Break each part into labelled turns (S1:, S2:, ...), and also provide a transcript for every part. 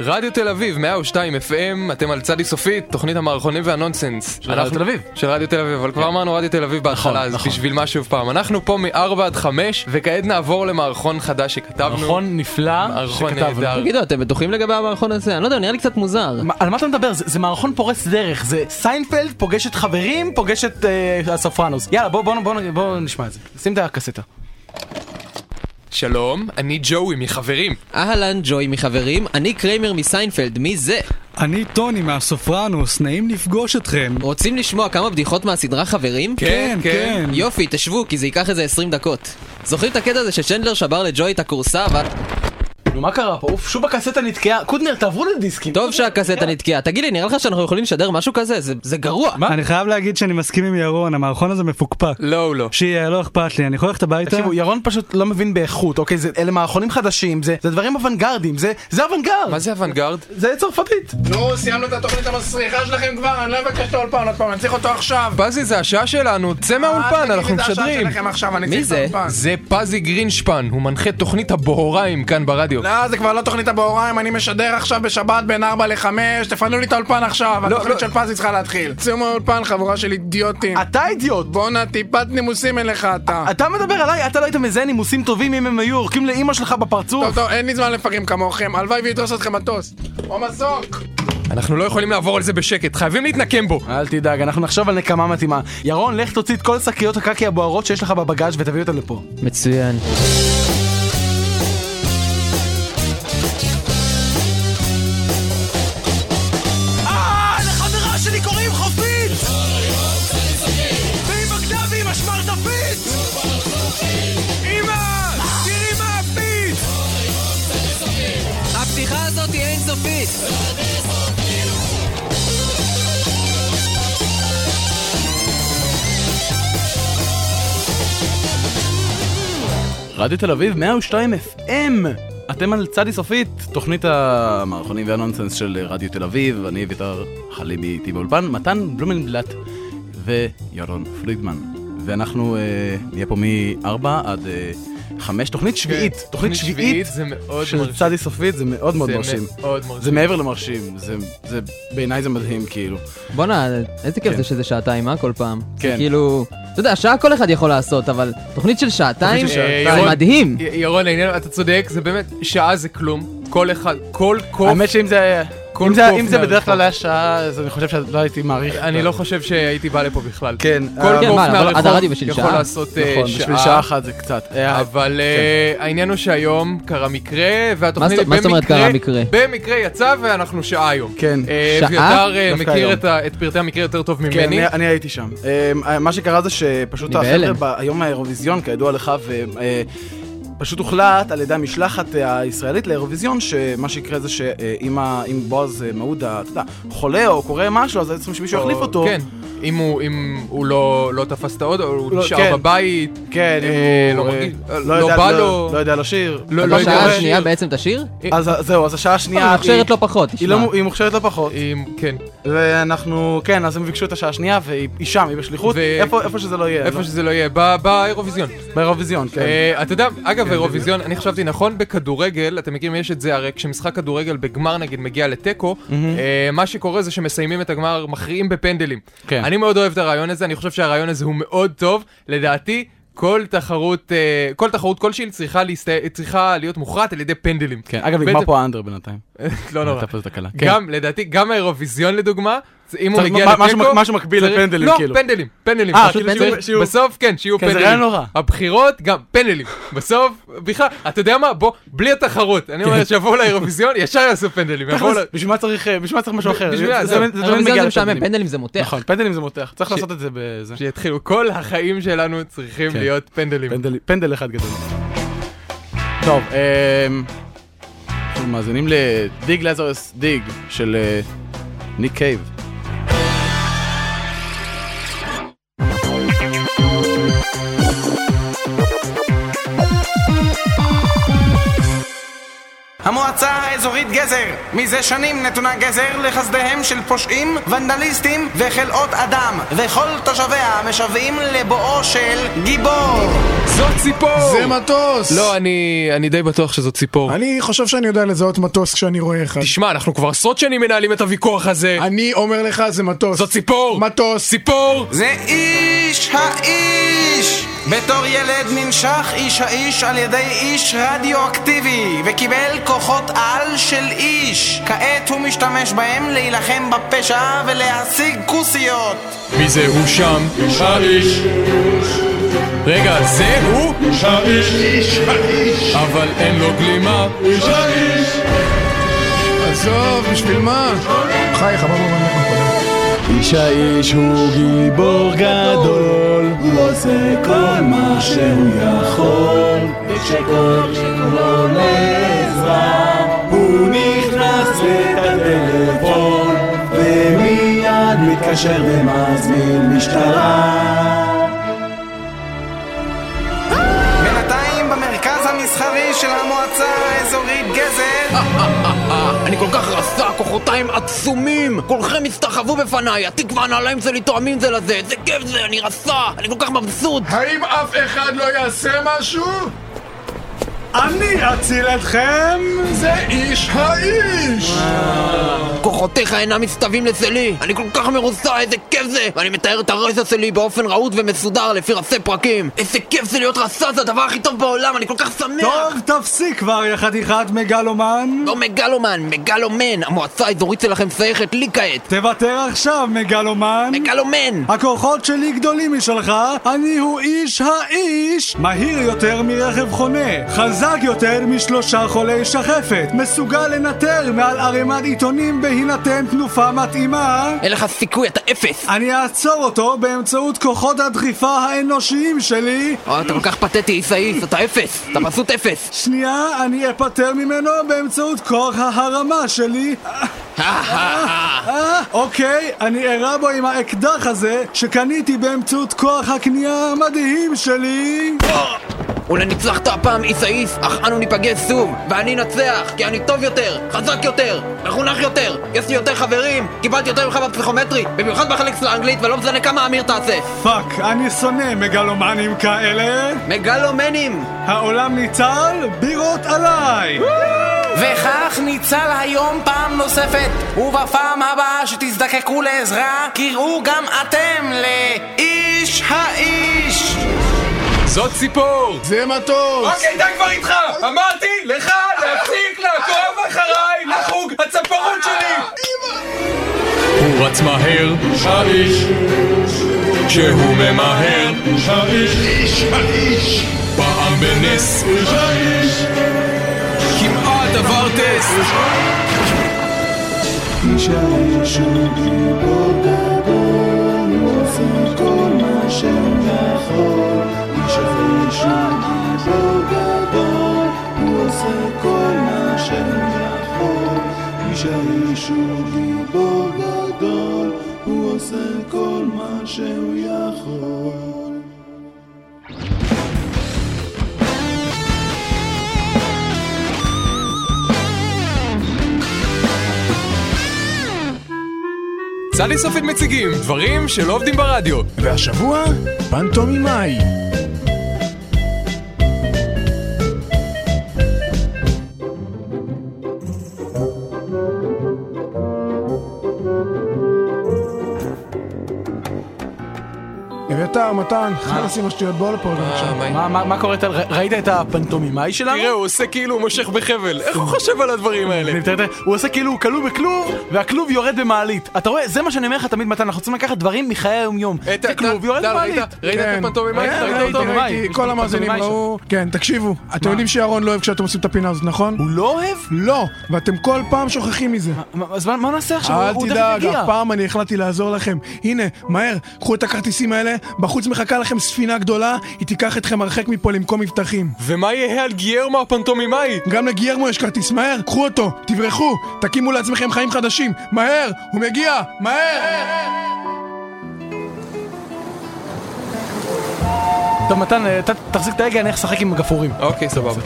S1: רדיו תל אביב, 102 FM, אתם על צדי סופית, תוכנית המערכונים והנונסנס.
S2: של רדיו
S1: אנחנו-
S2: תל אביב. כן.
S1: של רדיו תל אביב, אבל כבר אמרנו רדיו תל אביב בהתחלה, אז
S2: נכון.
S1: בשביל מה שוב פעם. אנחנו פה מ-4 עד 5, וכעת נעבור למערכון חדש שכתבנו.
S2: מערכון נפלא
S1: מערכון
S2: נכון. שכתבנו.
S1: נהדר.
S3: תגידו, אתם בטוחים לגבי המערכון הזה? אני לא יודע, נראה לי קצת מוזר.
S4: מה- על מה אתה מדבר? זה, זה מערכון פורץ דרך, זה סיינפלד פוגש את חברים, פוגש את אה, הסופרנוס. יאללה, בוא, בוא, בוא, בוא, נשמע את זה. שים את הקסטה.
S1: שלום, אני ג'וי מחברים.
S3: אהלן, ג'וי מחברים, אני קריימר מסיינפלד, מי זה?
S5: אני טוני מהסופרנוס, נעים לפגוש אתכם.
S3: רוצים לשמוע כמה בדיחות מהסדרה חברים?
S1: כן, כן.
S3: יופי, תשבו, כי זה ייקח איזה 20 דקות. זוכרים את הקטע הזה ששנדלר שבר לג'וי את הכורסה, ו...
S4: נו, מה קרה פה? אוף, שוב הקסטה נתקעה. קודנר, תעברו לדיסקים.
S3: טוב שהקסטה נתקעה. תגיד לי, נראה לך שאנחנו יכולים לשדר משהו כזה? זה- זה גרוע.
S5: אני חייב להגיד שאני מסכים עם ירון, המערכון הזה מפוקפק.
S1: לא, הוא לא.
S5: שיהיה, לא אכפת לי, אני יכול ללכת הביתה?
S4: תקשיבו, ירון פשוט לא מבין באיכות, אוקיי? זה, אלה מערכונים חדשים, זה, זה דברים אוונגרדים, זה, זה אוונגרד!
S1: מה זה אוונגרד?
S4: זה צרפתית.
S6: נו, סיימנו את התוכנית המסריחה שלכם כבר, אני לא מבקש את האולפן עוד פעם, אני צריך אותו עכשיו.
S1: פזי, זה השעה שלנו, צא
S6: אל
S1: מהאולפן,
S6: אה, תגיד לי
S1: אנחנו
S6: את השעה
S1: משדרים.
S6: שלכם עכשיו, אני
S3: מי
S6: צריך את
S3: זה?
S6: האולפן.
S1: זה פזי גרינשפן, הוא מנחה תוכנית הבוהריים כאן ברדיו.
S6: לא, זה כבר לא תוכנית הבהריים, אני משדר עכשיו בשבת בין 4 ל-5, תפנו לי את האולפן עכשיו,
S1: לא.
S6: התוכנית של פזי צריכה להתחיל. צאו מהאולפן, חבורה של אידיוטים.
S4: אתה אידיוט!
S6: בואנה, טיפת נימוסים אין לך אתה.
S4: אתה מדבר עליי, אתה לא היית מזהה נימוסים טובים אם הם היו יורקים לאימא שלך
S6: טוב,
S4: בפרצוף.
S6: טוב, אין לי זמן לפגים כמוכם, הלוואי וידרוס אתכם מטוס. או מסוק!
S1: אנחנו לא יכולים לעבור על זה בשקט, חייבים להתנקם בו.
S4: אל תדאג, אנחנו נחשוב על נקמה מתאימה. ירון, לך תוציא את כל שקיות הקקי הבוערות שיש לך בבגאז' ותביא אותן לפה.
S3: מצוין.
S7: אה, לחברה שלי קוראים חופית! והיא בגדה והיא משמרטפית! אמא! תראי מה הפית!
S3: הפתיחה הזאת היא אינסופית!
S4: רדיו תל אביב 102 FM אתם על צדי סופית, תוכנית המערכונים והנונסנס של רדיו תל אביב, אני אביתר חלימי איתי באולפן, מתן בלומנבלט וירון פרידמן. ואנחנו אה, נהיה פה מ-4 עד 5, תוכנית שביעית, כן, תוכנית שביעית
S1: זה מאוד
S4: של
S1: מרשים.
S4: צדי סופית, זה מאוד מאוד מרשים.
S1: זה מאוד מרשים.
S4: זה מעבר למרשים, זה, זה, בעיניי זה מדהים כאילו.
S3: בואנה, איזה כיף
S4: כן.
S3: זה שזה שעתיים, אה? כל פעם.
S4: כן.
S3: זה כאילו... אתה יודע, שעה כל אחד יכול לעשות, אבל תוכנית של שעתיים?
S4: תוכנית של
S1: אה,
S3: זה
S1: ירון,
S3: מדהים.
S1: י- ירון, העניין, אתה צודק, זה באמת, שעה זה כלום. כל אחד, כל קוף,
S4: האמת שאם זה,
S1: כל
S4: אם זה,
S1: קוף
S4: אם זה בדרך
S1: מהרחוב.
S4: כלל היה שעה, אז אני חושב שלא הייתי מעריך.
S1: אני לא חושב שהייתי בא לפה בכלל.
S4: כן,
S1: כל
S4: אה,
S3: כן,
S1: קוף
S3: מה, אבל עד הרדיו
S1: מהרחוב
S3: בשביל
S1: יכול
S3: שעה?
S1: לעשות אה,
S4: נכון, בשביל שעה אחת זה קצת. אה,
S1: אבל אה, העניין הוא שהיום קרה מקרה, והתוכנית
S3: מה זאת- מה זאת אומרת
S1: במקרה-
S3: קרה מקרה?
S1: במקרה יצא ואנחנו שעה היום.
S4: כן.
S1: אה,
S3: שעה?
S1: אביתר אה,
S4: דווקא
S1: מכיר
S4: היום.
S1: את ה- את פרטי המקרה יותר טוב
S4: כן,
S1: ממני.
S4: אני, אני הייתי שם. אה, מה שקרה זה שפשוט
S3: אני בהלם.
S4: החבר'ה ביום האירוויזיון, כידוע לך, ו... אה, פשוט הוחלט על ידי המשלחת אה, הישראלית לאירוויזיון, שמה שיקרה זה שאם ה- אם בועז אה, מעודה, אתה יודע, חולה או קורה משהו, אז היו צריכים שמישהו יחליף אותו.
S1: כן, אם הוא- אם הוא לא לא תפס את האוטו, הוא
S4: לא,
S1: נשאר
S4: כן.
S1: בבית,
S4: כן, אם
S1: אה,
S4: הוא,
S1: לא
S4: אה,
S1: מרגיש,
S4: לא
S1: לא
S4: יודע-
S1: בא
S4: לא-
S1: לו.
S4: לא יודע לשיר.
S1: לא- לא יודע
S3: בשעה
S1: יודע.
S3: השנייה בעצם תשיר?
S4: אז אה, זהו, אז השעה השנייה...
S3: היא מוכשרת
S4: היא-
S3: לא פחות,
S4: היא
S3: תשמע.
S4: לא מו- היא מוכשרת לא פחות,
S1: אם- כן,
S4: ואנחנו, כן, אז הם ביקשו את השעה השנייה, והיא היא שם, היא בשליחות,
S1: ו-
S4: איפה איפה שזה לא יהיה,
S1: איפה
S4: לא-
S1: שזה לא יהיה, בא- באירוויזיון.
S4: באירוויזיון, כן.
S1: אה, אתה יודע, אגב, אירוויזיון, אני חשבתי נכון, בכדורגל, אתם מכירים, יש את זה, הרי כשמשחק כדורגל בגמר נגיד מגיע לתיקו, אה, מה שקורה זה שמסיימים את הגמר, מכריעים בפנדלים.
S4: כן.
S1: אני מאוד אוהב את הרעיון הזה, אני חושב שהרעיון הזה הוא מאוד טוב, לדעתי. כל תחרות, אה, כל תחרות כלשהי צריכה, להסתי... צריכה להיות מוכרעת על ידי פנדלים.
S4: כן, אגב,
S1: בעצם-
S4: נגמר פה האנדר בינתיים.
S1: לא נורא.
S4: הייתה פה תקלה.
S1: גם, לדעתי, גם האירוויזיון לדוגמה, זה- אם הוא
S4: כן. צריך
S1: מגיע
S4: מה-
S1: לתיקו...
S4: משהו- משהו מקביל
S1: צריך-
S4: לפנדלים, כאילו.
S1: לא, פנדלים, פנדלים.
S4: אה,
S1: פשוט
S4: כאילו
S1: פנדלים.
S4: שיהיו- שיהיו-
S1: בסוף, כן, שיהיו
S4: כן, זה
S1: פנדלים.
S4: רעיון לא רע.
S1: הבחירות, גם פנדלים. בסוף, בכלל, אתה יודע מה? בוא, בלי התחרות. אני אומר שיבואו לאירוויזיון, ישר יעשו פנדלים. יבואו
S4: כן. תכלס,
S1: ל...
S4: בשביל מה צריך אה, בשביל מה צריך משהו אחר?
S1: בשביל מה, זהו.
S4: תמיד- תמיד
S3: האירוויזיון
S4: מגיע
S3: זה משעמם,
S4: לפנדלים.
S3: פנדלים זה מותח.
S4: נכון, פנדלים זה מותח, צריך לעשות את זה בזה.
S1: שיתחילו, כל החיים שלנו צריכים
S4: כן.
S1: להיות פנדלים.
S4: פנדל- פנדל אחד גדול. טוב, אמ, אנחנו מאזינים לדיג לזרס דיג של אה, ניק קייב.
S2: המועצה האזורית גזר מזה שנים נתונה גזר לחסדיהם של פושעים, ונדליסטים וחלאות אדם וכל תושביה משוועים לבואו של גיבור
S1: זאת ציפור!
S6: זה מטוס!
S1: לא, אני אני די בטוח שזאת ציפור.
S6: אני חושב שאני יודע לזהות מטוס כשאני רואה אחד.
S1: תשמע, אנחנו כבר עשרות שנים מנהלים את הוויכוח הזה.
S6: אני אומר לך, זה מטוס.
S1: זאת ציפור!
S6: מטוס.
S1: ציפור!
S2: זה איש האיש! בתור ילד ננשך איש האיש על ידי איש רדיואקטיבי וקיבל כוחות על של איש כעת הוא משתמש בהם להילחם בפשע ולהשיג כוסיות
S1: מי זה הוא שם? איש האיש. רגע, זה הוא? איש האיש. איש האיש. אבל אין לו גלימה. איש האיש.
S6: עזוב, בשביל מה? לא חייך, בוא בוא בוא.
S8: איש האיש הוא גיבור גדול, הוא עושה כל מה שהוא יכול, וכשכל שכולו לעזרה, הוא נכנס לטלפון, ומיד מתקשר ומזמין משטרה.
S2: בינתיים במרכז המסחרי של המועצה האזורית גזר
S3: אה, אני כל כך רזה, כוחותיים עצומים! כולכם הסתחבו בפניי, התיק והנעליים שלי תואמים זה לזה, איזה כיף זה, אני רזה! אני כל כך מבסוט!
S6: האם אף אחד לא יעשה משהו?
S8: אני אציל אתכם!
S6: זה איש האיש!
S3: כוחותיך אינם מסתווים לצלי! אני כל כך מרוסה, איזה כיף זה! ואני מתאר את הרזה שלי באופן רהוט ומסודר לפי רסי פרקים! איזה כיף זה להיות רזה, זה הדבר הכי טוב בעולם, אני כל כך שמח!
S8: טוב, תפסיק כבר, יא חתיכת מגלומן!
S3: לא מגלומן, מגלומן! המועצה האזורית שלכם שייכת לי כעת!
S8: תוותר עכשיו, מגלומן!
S3: מגלומן!
S8: הכוחות שלי גדולים משלך, אני הוא איש האיש! מהיר יותר מרכב חונה, חזק יותר משלושה חולי שחפת, מסוגל לנטר מעל ערימת עיתונים בהינתן תנופה מתאימה,
S3: אין לך סיכוי, אתה אפס!
S8: אני אעצור אותו באמצעות כוחות הדחיפה האנושיים שלי,
S3: אה, אתה כל כך פתטי, עיסאי, אתה אפס! אתה פשוט אפס!
S8: שנייה, אני אפטר ממנו באמצעות כוח ההרמה שלי, אה, אוקיי, אני ארע בו עם האקדח הזה שקניתי באמצעות כוח הקנייה המדהים שלי.
S3: אולי ניצחת הפעם עיסאיס, אך אנו ניפגש שוב, ואני אנצח, כי אני טוב יותר, חזק יותר, מחונך יותר, יש לי יותר חברים, קיבלתי יותר ממך בפסיכומטרי, במיוחד בחלק של האנגלית, ולא משנה כמה אמיר תעשה.
S8: פאק, אני שונא מגלומנים כאלה.
S3: מגלומנים!
S8: העולם ניצל, בירות עליי!
S2: וכך ניצל היום פעם נוספת ובפעם הבאה שתזדקקו לעזרה קראו גם אתם לאיש האיש
S1: זאת ציפור!
S6: זה מטוס!
S7: אוקיי, די כבר איתך! אמרתי לך להפסיק לעקוב אחריי לחוג הצפרות שלי!
S1: הוא רץ מהר. איש האיש. כשהוא ממהר. איש האיש. איש האיש. פעם בנס. איש האיש. כמעט עבר טסט.
S8: איש האיש הוא גיבור גדול, הוא עושה כל מה שהוא יכול. איש האיש הוא גיבור גדול, הוא עושה כל מה שהוא יכול. איש האיש הוא גיבור גדול, הוא עושה כל מה שהוא יכול.
S1: צלי סופית מציגים דברים שלא עובדים ברדיו.
S6: והשבוע, פנטומימאי. אביתר, מתן, חלאס עם השטויות בוא לפה גם עכשיו.
S1: מה-
S4: מה- מה מה קורה, טל? ר- ראית את הפנטומימאי שלנו?
S1: תראה, הוא עושה כאילו הוא מושך בחבל. איך הוא חושב על הדברים האלה?
S4: אני מתאר את זה, הוא עושה כאילו הוא כלוא בכלוב, והכלוב יורד במעלית. אתה רואה, זה מה שאני אומר לך תמיד, מתן, אנחנו צריכים לקחת דברים מחיי היום-יום.
S1: ראית-
S4: זה כלוב יורד
S1: טל,
S4: במעלית.
S1: ראית- ראית את
S6: כן.
S1: הפנטומימאי?
S4: כן,
S1: ראית
S4: ראיתי,
S1: אותו?
S4: ראיתי.
S6: ראיתי,
S4: יש
S6: כל
S4: פנטומימאי
S6: המאזינים
S4: שם.
S6: ראו... כן, תקשיבו, אתם יודעים שירון לא אוהב כשאתם עושים את הפינה הזאת, נכון?
S4: הוא לא אוהב?
S6: לא, ואתם כל פעם שוכחים מזה.
S4: מה- אז מה- מה נעשה עכשיו?
S6: אל
S4: הוא- הוא תכף
S6: תדאג,
S4: יגיע.
S6: הפעם אני החלטתי לעזור לכם. הנה, מהר, קחו את הכרטיסים האלה, בחוץ מחכה לכם ספינה גדולה, היא תיקח אתכם הרחק מפה למקום מבטחים.
S1: ומה יהיה על גיירמו הפנטומימאי?
S6: גם לגיירמו יש כרטיס, מהר, קחו אותו, תברחו, תקימו לעצמכם חיים חדשים, מהר, הוא מגיע, מהר!
S4: טוב, מתן, אה, ת- תחזיק את ההגה, אני הולך לשחק עם הגפרורים.
S1: אוקיי, סבבה.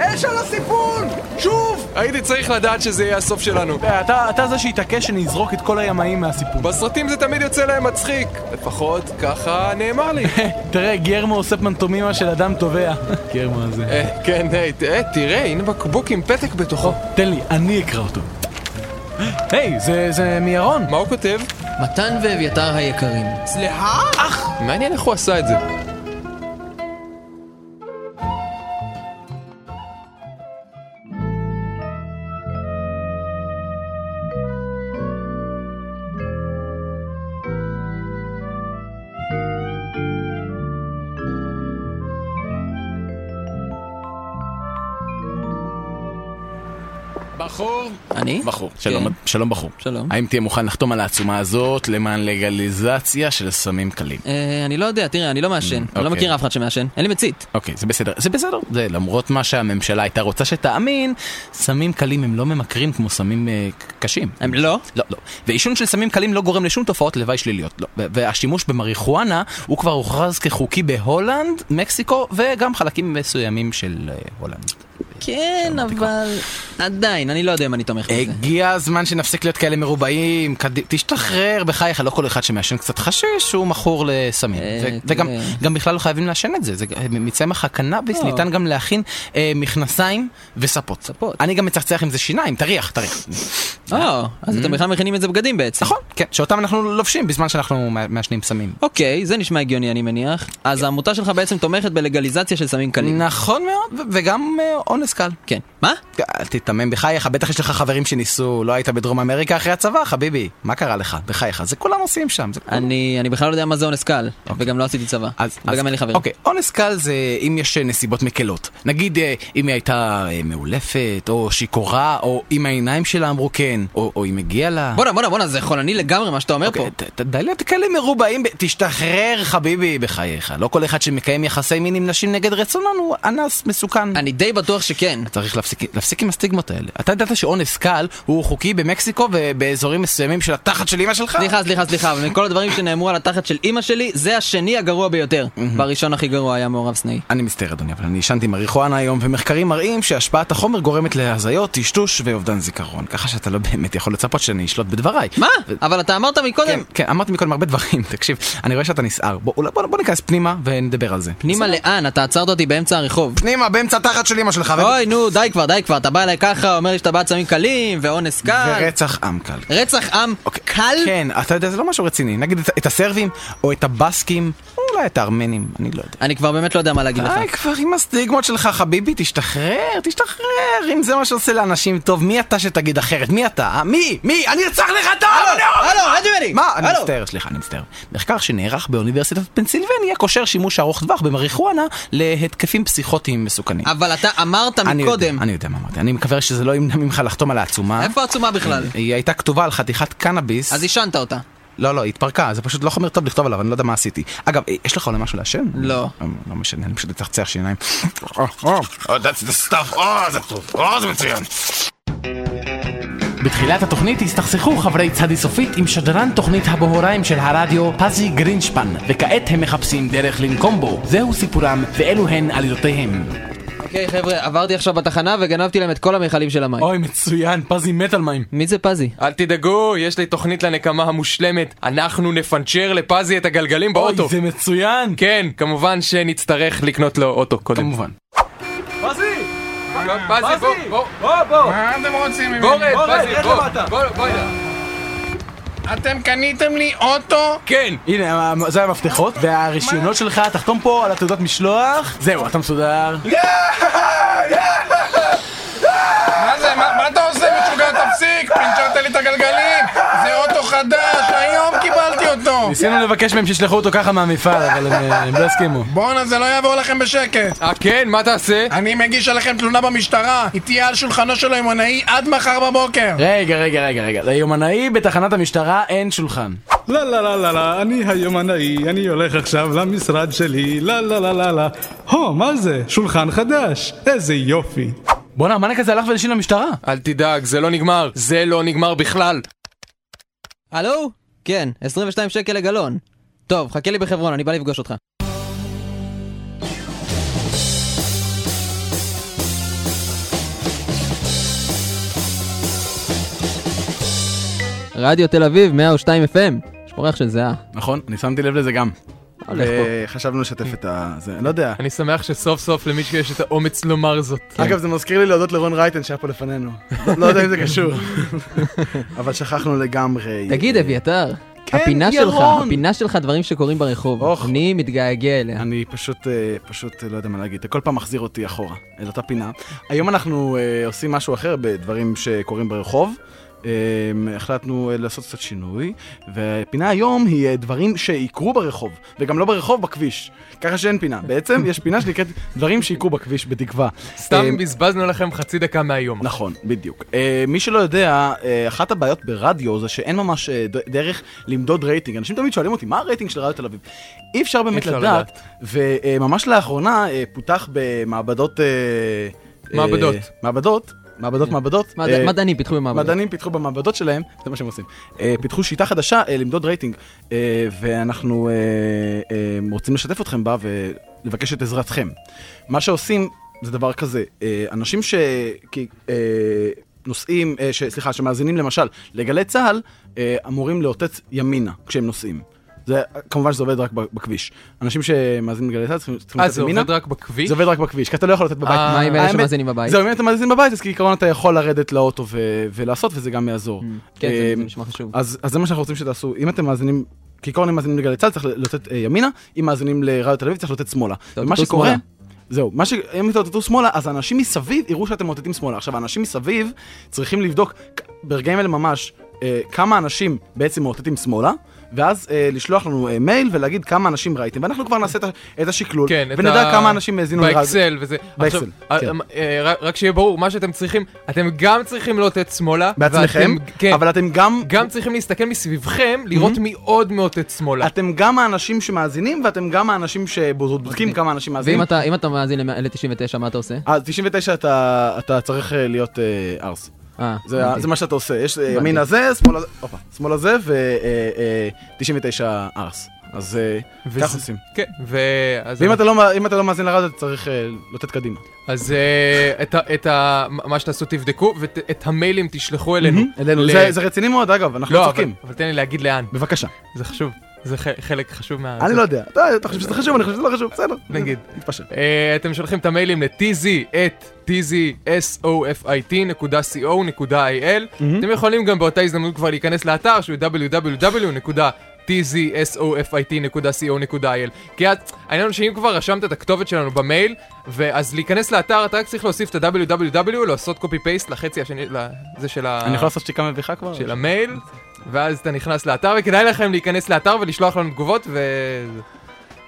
S6: להתעקש על הסיפון! שוב!
S1: הייתי צריך לדעת שזה יהיה הסוף שלנו.
S4: אתה, אתה זה שהתעקש שנזרוק את כל הימאים מהסיפור.
S1: בסרטים זה תמיד יוצא להם מצחיק. לפחות ככה נאמר לי.
S4: תראה, גרמו עושה פנטומימה של אדם תובע. גרמו הזה.
S1: אה, כן, אה, ת- אה, תראה, הנה בקבוק עם פתק בתוכו.
S4: תן לי, אני אקרא אותו. היי, זה, זה מירון.
S1: מה הוא כותב?
S3: מתן ואביתר היקרים,
S1: מעניין איך הוא עשה את זה.
S4: בחור.
S3: אני?
S4: בחור. שלום,
S3: כן.
S4: שלום בחור.
S3: שלום.
S4: האם תהיה מוכן לחתום על העצומה הזאת למען לגליזציה של סמים קלים?
S3: אה, אני לא יודע, תראה, אני לא מעשן. אני לא
S4: אוקיי.
S3: מכיר אף אחד שמעשן. אין לי מצית.
S4: אוקיי, זה בסדר. זה בסדר. זה למרות מה שהממשלה הייתה רוצה שתאמין, סמים קלים הם לא ממכרים כמו סמים אה, ק- קשים.
S3: הם לא?
S4: לא, לא. ועישון של סמים קלים לא גורם לשום תופעות לוואי שליליות. לא. ו- והשימוש במריחואנה הוא כבר הוכרז כחוקי בהולנד, מקסיקו וגם חלקים מסוימים של אה, הולנד.
S3: כן, אבל... עדיין, אני לא יודע אם אני תומך בזה.
S4: הגיע הזמן שנפסיק להיות כאלה מרובעים, קד... תשתחרר בחייך, לא כל אחד שמעשן קצת חשיש הוא מכור לסמים.
S3: אה,
S4: ו-
S3: תראה.
S4: וגם גם בכלל לא חייבים לעשן את זה, זה ג- מצמח הקנאביס
S3: לא.
S4: ניתן גם להכין אה, מכנסיים וספות.
S3: ספות.
S4: אני גם מצחצח עם זה שיניים, תריח, תריח.
S3: או, אה, אז אתם בכלל מכינים את זה בגדים בעצם.
S4: אה, mm-hmm. נכון, כן, שאותם אנחנו לובשים בזמן שאנחנו מע- מעשנים סמים.
S3: אוקיי, זה נשמע הגיוני אני מניח. אז
S4: כן.
S3: העמותה שלך בעצם תומכת בלגליזציה של סמים קלים.
S4: נכון מאוד, ו- וגם אה, אונס קל.
S3: כן. מה?
S4: אל תיתמם בחייך, בטח יש לך חברים שניסו, לא היית בדרום אמריקה אחרי הצבא, חביבי. מה קרה לך? בחייך, זה כולם עושים שם. זה כולם-
S3: אני אני בכלל לא יודע מה זה אונס קל, וגם לא עשיתי צבא. וגם אין לי חברים.
S4: אוקיי, אונס קל זה אם יש אה, נסיבות מקלות. נגיד אה, אם היא הייתה אה, מאולפת, או שיכורה, או אם העיניים שלה אמרו כן, או או אם הגיעה לה...
S3: בואנה, בואנה, בואנה, זה חולני לגמרי מה שאתה אומר פה.
S4: אוקיי, ת- ת- די להיות כאלה מרובעים, ב- תשתחרר חביבי בחייך. לא כל אחד שמקיים יחסי מין עם נשים נגד רצונן הוא אנס מסוכן.
S3: אני די בטוח שכן.
S4: צריך להפסיק, להפסיק עם הסטיגמות האלה. אתה ידעת שאונס קל הוא חוקי במקסיקו ובאזורים מסוימים של התחת של אמא שלך?
S3: סליחה, סליחה, סליחה, אבל מכל הדברים שנאמרו על התחת של אימא שלי, זה השני הגרוע ביותר. והראשון הכי גרוע היה מעורב סנאי.
S4: אני מצטער אדוני, אבל אני עישנתי מריחואנה היום, ומחקרים מראים שהשפעת החומר גורמת להזיות, טשטוש ואובדן זיכרון. ככה שאתה לא באמת יכול לצפות שאני אשלוט בדבריי.
S3: מה?
S4: ו-
S3: אבל אתה אמרת
S4: כן,
S3: מקודם,
S4: כן, אמרתי מקודם הרבה דברים, תקשיב, אני רואה שאתה נסער. בוא, אולי- בוא, בוא ניכנס פנימה ונדבר על זה.
S3: פנימה לאן? אתה עצרת אותי באמצע הרחוב.
S4: פנימה, באמצע התחת של אמא שלך, ו-
S3: אוי, נו, די כבר, די כבר, אתה בא אליי ככה, אומר לי שאתה בעד סמים קלים, ואונס קל.
S4: ורצח עם קל.
S3: רצח עם
S4: אוקיי.
S3: קל?
S4: כן, אתה יודע, זה לא משהו רציני. נגיד את- את הסרבים, או את הבסקים, או אולי את הארמנים, אני לא יודע.
S3: אני כבר באמת לא יודע מה להגיד לך.
S4: די כבר עם הסטיגמות שלך חביבי, תשתחרר, תשתחרר, אם זה מה שעושה לאנשים טוב, מי אתה שתגיד אחרת? מי אתה? אה? מי? מי? אני ארצח לך את הארון!
S3: הלו, רד ממני!
S4: מה? אני
S3: הלו.
S4: מצטער, סליחה, אני מצטער. מחקר שנערך באוניברסיטת פנסילבניה קושר שימוש ארוך טווח במריחואנה להתקפים פסיכוטיים מסוכנים.
S3: אבל אתה אמרת
S4: אני יודע,
S3: מקודם,
S4: אני יודע מה אמרתי, אני מקווה שזה לא ימנע ממך לחתום על העצומה.
S3: איפה העצומה בכלל?
S4: היא הייתה כתובה על חתיכת קנאביס.
S3: אז עישנת אותה.
S4: לא, לא, היא התפרקה, זה פשוט לא חומר טוב לכתוב עליו, אני לא יודע מה עשיתי. אגב, אה, יש לך אולי משהו לעשן?
S3: לא.
S4: אה, לא משנה, אני פשוט אצחצח שיניים. בתחילת התוכנית הסתכסכו חברי צדי סופית עם שדרן תוכנית הבהוריים של הרדיו, פזי גרינשפן, וכעת הם מחפשים דרך לנקום בו. זהו סיפורם, ואלו הן עלילותיהם.
S3: אוקיי, חבר'ה, עברתי עכשיו בתחנה וגנבתי להם את כל המכלים של המים.
S4: אוי, מצוין, פזי מת על מים.
S3: מי זה פזי?
S1: אל תדאגו, יש לי תוכנית לנקמה המושלמת. אנחנו נפנצ'ר לפזי את הגלגלים באוטו.
S4: מצוין!
S1: כן, כמובן שנצטרך לקנות לו אוטו קודם.
S4: כמובן.
S1: לא, פזי, בוא, בוא.
S2: מה אתם רוצים ממני?
S1: בוא רד, פזי, בוא. בוא, בוא.
S2: אתם קניתם לי אוטו?
S1: כן.
S4: הנה, המ- זה המפתחות, והרישיונות שלך, תחתום פה על התעודת משלוח. זהו, אתה מסודר.
S2: מה זה? מה מה אתה עושה משוגע? תפסיק! פינצ'רת לי את הגלגלים! זה אוטו חדש! היום קיבלתי אותו!
S4: ניסינו לבקש מהם שישלחו אותו ככה מהמפעל, אבל הם, אה, הם לא הסכימו.
S2: בואנה, זה לא יעבור לכם בשקט!
S1: אה, כן, מה תעשה?
S2: אני מגיש עליכם תלונה במשטרה! היא תהיה על שולחנו של היומנאי עד מחר בבוקר!
S4: רגע, רגע, רגע, רגע. ליומנאי בתחנת המשטרה אין שולחן.
S5: לא, לא, לא, לא, לא, אני היומנאי, אני הולך עכשיו למשרד שלי, לא, לא, לא, לא, לא. הו, מה זה? שולחן חדש. איזה יופי.
S4: בואנה, המאנק הזה הלך והלשין למשטרה.
S1: אל תדאג, זה לא נגמר. זה לא נגמר בכלל.
S3: הלו? כן, 22 שקל לגלון. טוב, חכה לי בחברון, אני בא לפגוש אותך.
S9: רדיו תל אביב, 102 FM. יש פה ריח של זהה.
S4: נכון, אני שמתי לב לזה גם.
S9: הולך פה.
S4: וחשבנו לשתף את ה... זה, לא יודע.
S1: אני שמח שסוף סוף למישהו יש את האומץ לומר זאת.
S9: כן.
S10: אגב, זה מזכיר לי להודות לרון רייטן שהיה פה לפנינו. לא- לא יודע אם זה קשור. אבל שכחנו לגמרי.
S9: תגיד, אביתר,
S10: כן,
S9: הפינה שלך,
S10: ירון.
S9: הפינה שלך דברים שקורים ברחוב.
S10: אוח.
S9: אני מתגעגע אליה.
S4: אני פשוט, אה, פשוט אה, לא יודע מה להגיד, אתה כל פעם מחזיר אותי אחורה, אל אותה פינה. היום אנחנו אה, עושים משהו אחר בדברים שקורים ברחוב. אה, החלטנו אה, לעשות קצת שינוי, והפינה היום היא אה, דברים שיקרו ברחוב, וגם לא ברחוב, בכביש. ככה שאין פינה. בעצם יש פינה שנקראת דברים שיקרו בכביש, בתקווה. אה,
S1: סתם בזבזנו לכם חצי דקה מהיום.
S4: נכון, בדיוק. אה, מי שלא יודע, אה, אחת הבעיות ברדיו זה שאין ממש אה, ד- דרך למדוד רייטינג. אנשים תמיד שואלים אותי, מה הרייטינג של רדיו תל אביב? אי אפשר באמת
S1: אפשר
S4: לדעת, וממש לאחרונה אה, פותח במעבדות... אה, אה,
S1: מעבדות.
S4: מעבדות. מעבדות, מעבדות.
S9: מד-
S4: אה,
S9: מדענים פיתחו במעבדות.
S4: מדענים פיתחו במעבדות שלהם, זה מה שהם עושים. אה, פיתחו שיטה חדשה אה, למדוד רייטינג, אה, ואנחנו אה, אה, רוצים לשתף אתכם בה ולבקש את עזרתכם. מה שעושים זה דבר כזה, אה, אנשים ש... כי, אה, נוסעים, אה, ש, סליחה, שמאזינים למשל לגלי צה"ל, אה, אמורים לאותת ימינה כשהם נוסעים. זה, כמובן שזה עובד רק ב- בכביש. אנשים שמאזינים לגלי צה"ל צריכים צריכים
S1: אה,
S4: לאותת
S1: זה
S4: ימינה.
S1: עובד רק בכביש?
S4: זה עובד רק בכביש, כי אתה לא יכול לתת בבית.
S1: אה,
S9: מה עם אלה
S4: האמת-
S9: שמאזינים בבית?
S4: זהו, אם אתה מאזין בבית, אז כעיקרון אתה יכול לרדת לאוטו ו- ולעשות, וזה גם יעזור.
S9: כן, זה-
S4: אמ,
S9: זה נשמע חשוב.
S4: אז אז זה מה שאנחנו רוצים שתעשו. אם אתם מאזינים, כעיקרון אם מאזינים לגלי צה"ל צריך לתת אה, ימינה, אם מאזינים לרדיו תל אביב צריך לתת שמאלה. ומה
S9: תאותתו
S4: שקורה...
S9: שמאלה.
S4: זהו, מה ש... אם תאותתו שמאלה, אז האנשים מסביב יראו שאתם מאותתים שמאלה. עכשיו, האנשים מסביב צריכים לבדוק כ- ברגעים אלה ממש אה, כמה אנשים בעצם מאותתים שמאלה, ואז אה, לשלוח לנו אה, מייל ולהגיד כמה אנשים ראיתם, ואנחנו כבר נעשה את ה- את השקלול,
S1: כן, את
S4: ונדע
S1: ה-
S4: כמה אנשים האזינו לרדיו.
S1: באקסל וזה.
S4: באקסל,
S1: עכשיו,
S4: כן.
S1: אה, אה, רק- רק שיהיה ברור, מה שאתם צריכים, אתם גם צריכים לאותת שמאלה.
S4: בעצמכם,
S1: ואתם- כן.
S4: אבל Mm-hmm. אתם גם,
S1: גם צריכים להסתכל מסביבכם, לראות מי עוד מאותת שמאלה.
S4: אתם גם האנשים שמאזינים ואתם גם האנשים שבודקים כמה אנשים מאזינים.
S9: ואם אתה- אם אתה מאזין למא- ל-99, מה אתה עושה?
S4: אז 99 אתה, אתה צריך אה, להיות אה, ארס.
S9: אה,
S4: זה,
S9: הבנתי.
S4: זה מה שאתה עושה, יש אה,
S9: הבנתי.
S4: ימין הזה, שמאל הזה, הופה, שמאל הזה אה, ו-99 ארס. אז אה,
S1: וזה-
S4: ככה עושים.
S1: כן, ואז...
S4: ואם אתה לא, מא- אם אתה לא מאזין לרדיו, אתה צריך אה, לתת קדימה.
S1: אז אה, את ה- את ה... מה שתעשו תבדקו, ואת המיילים תשלחו אלינו.
S4: Mm-hmm, אלינו,
S1: ל-
S4: זה, זה רציני מאוד, אגב, אנחנו
S1: לא, אבל
S4: צוחקים.
S1: אבל תן לי להגיד לאן.
S4: בבקשה.
S1: זה חשוב. זה ח- חלק חשוב מה...
S4: אני לא יודע, אתה, אתה חושב שזה חשוב, אני חושב שזה לא חשוב, בסדר.
S1: נגיד.
S4: נתפשר.
S1: אה, אתם שולחים את המיילים ל-tz at tzsofit.co.il אתם יכולים גם באותה הזדמנות כבר להיכנס לאתר שהוא www.tzsofit.co.il כי את- העניין הוא שאם כבר רשמת את הכתובת שלנו במייל ואז להיכנס לאתר אתה רק צריך להוסיף את ה-www לעשות copy paste לחצי השני, לזה של ה...
S4: אני יכול לעשות שתיקה מביכה כבר?
S1: של המייל ואז אתה נכנס לאתר וכדאי לכם להיכנס לאתר ולשלוח לנו תגובות ו...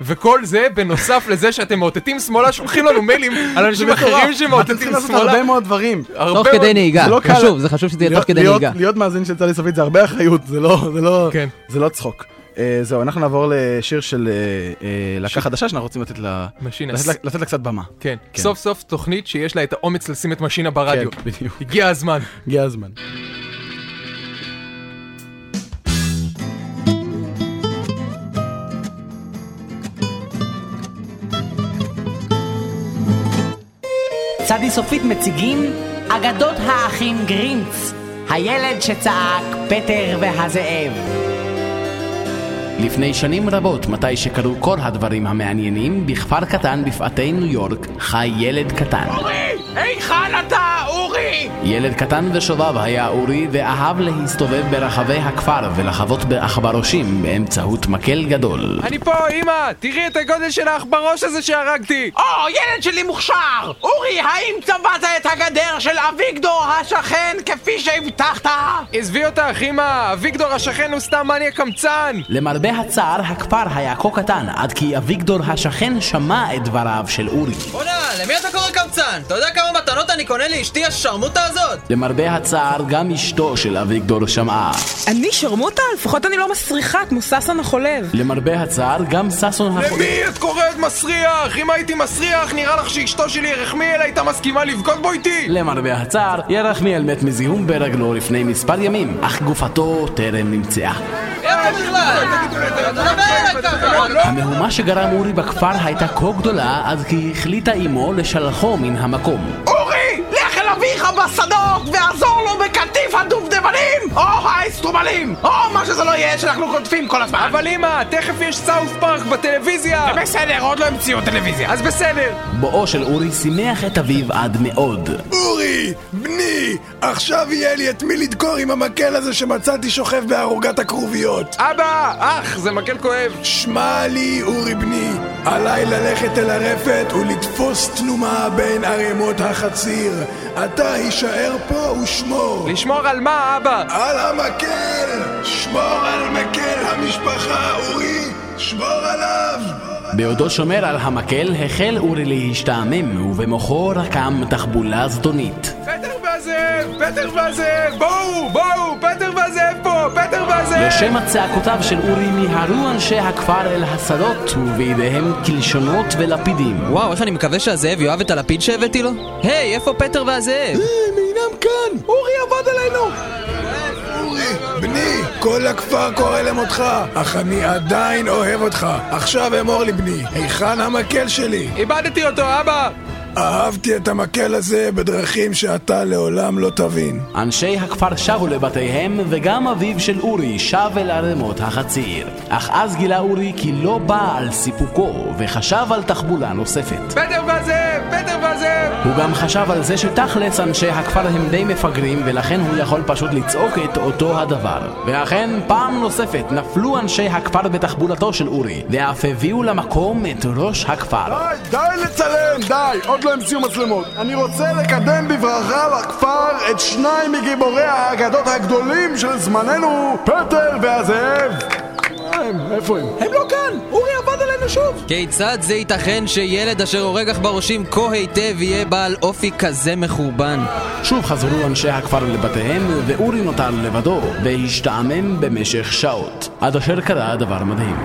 S1: וכל זה בנוסף לזה שאתם מאותתים שמאלה שולחים לנו מיילים על אנשים אחרים
S4: אתם צריכים
S1: שמאותתים
S4: לעשות
S1: שמאלה.
S4: הרבה מאוד דברים.
S1: הרבה
S9: תוך
S1: מאוד-
S9: כדי נהיגה.
S4: זה לא קל.
S9: חשוב, זה חשוב שזה יהיה תוך
S4: להיות-
S9: כדי
S4: להיות-
S9: נהיגה.
S4: להיות מאזין של טלי סופית זה הרבה אחריות, זה לא, זה לא,
S1: כן.
S4: זה לא צחוק. אה, זהו, אנחנו נעבור לשיר של אה, אה, להקה חדשה שאנחנו רוצים לתת לה, לתת
S1: משינס,
S4: לה, לתת לה קצת במה.
S1: כן.
S4: כן.
S1: סוף סוף תוכנית שיש לה את האומץ לשים את משינה ברדיו.
S4: כן, בדיוק.
S1: הגיע הזמן.
S4: הגיע הזמן.
S11: צדי סופית מציגים אגדות האחים גרינץ, הילד שצעק פטר והזאב.
S3: לפני שנים רבות, מתי שקרו כל הדברים המעניינים, בכפר קטן בפאתי ניו יורק, חי ילד קטן.
S7: היכן אתה, אורי?
S3: ילד קטן ושובב היה אורי, ואהב להסתובב ברחבי הכפר ולחבוט בעכברושים באמצעות מקל גדול.
S1: אני פה, אמא! תראי את הגודל של העכברוש הזה שהרגתי! אה,
S7: או, ילד שלי מוכשר! אורי, האם צבעת את הגדר של אביגדור השכן כפי שהבטחת?
S1: עזבי אותך, אמא! אביגדור השכן הוא סתם מניה קמצן!
S3: למרבה הצער, הכפר היה כה קטן, עד כי אביגדור השכן שמע את דבריו של אורי.
S2: בואנה, למי אתה קורא קמצן? אתה יודע כמה מתנות אני קונה לאשתי השרמוטה הזאת?
S3: למרבה הצער, גם אשתו של אביגדור שמעה.
S11: אני שרמוטה? לפחות אני לא מסריחה כמו ששון החולב.
S3: למרבה הצער, גם ששון החולה...
S1: למי את קוראת מסריח? אם הייתי מסריח, נראה לך שאשתו שלי ירחמיאל הייתה מסכימה לבגוד בו איתי?
S3: למרבה הצער, ירחמיאל מת מזיהום ברגלו לפני מספר ימים, אך גופתו טרם נמצאה. המהומה שגרם אורי בכפר הייתה כה גדולה, עד כי החליטה אמו לשלחו מן המקום.
S7: אורי, לך אל אביך בשדות ועזור לו בקטיף הדובדבנים! או, מסטרובלים! או מה שזה לא יהיה שאנחנו קוטפים כל הזמן!
S1: אבל אמא, תכף יש סאוף פארק בטלוויזיה!
S7: בסדר, עוד לא המציאו טלוויזיה.
S1: אז בסדר!
S12: בואו של אורי שימח את אביו עד מאוד.
S6: אורי, בני, עכשיו יהיה לי את מי לדקור עם המקל הזה שמצאתי שוכב בערוגת הכרוביות.
S1: אבא, אח, זה מקל כואב.
S6: שמע לי, אורי בני, עליי ללכת אל הרפת ולתפוס תנומה בין ערימות החציר. אתה הישאר פה ושמור.
S1: לשמור על מה, אבא?
S6: על המקל! שמור על מקל המשפחה, אורי! שמור עליו!
S12: בעודו שומר על המקל, החל אורי להשתעמם, ובמוחו רקם תחבולה זדונית.
S1: פטר והזאב! פטר והזאב! בואו! בואו! פטר והזאב פה! פטר והזאב!
S12: לשם הצעקותיו של אורי מיהרו אנשי הכפר אל הסדות, ובידיהם קלשונות ולפידים.
S3: וואו, איך אני מקווה שהזאב יאהב את הלפיד שהבאתי לו? היי, איפה פטר והזאב?
S6: אינם כאן! אורי עבד עלינו! אורי, בני, כל הכפר קורא למותך, אך אני עדיין אוהב אותך. עכשיו אמור לי, בני, היכן המקל שלי?
S1: איבדתי אותו, אבא!
S6: אהבתי את המקל הזה בדרכים שאתה לעולם לא תבין.
S12: אנשי הכפר שבו לבתיהם, וגם אביו של אורי שב אל ערמות החציר. אך אז גילה אורי כי לא בא על סיפוקו, וחשב על תחבולה נוספת.
S1: פטר והזאב! פטר והזאב!
S12: הוא גם חשב על זה שתכלס אנשי הכפר הם די מפגרים ולכן הוא יכול פשוט לצעוק את אותו הדבר. ואכן, פעם נוספת נפלו אנשי הכפר בתחבולתו של אורי, ואף הביאו למקום את ראש הכפר.
S13: די, די לצלם, די! עוד לא המציאו מצלמות. אני רוצה לקדם בברכה לכפר את שניים מגיבורי האגדות הגדולים של זמננו, פטר והזאב! מה הם? איפה הם? הם לא כאן! אורי עבד עלינו שוב!
S3: כיצד זה ייתכן שילד אשר הורג עכברושים כה היטב יהיה בעל אופי כזה מחורבן?
S12: שוב חזרו אנשי הכפר לבתיהם, ואורי נותר לבדו, והשתעמם במשך שעות. עד אשר קרה דבר מדהים.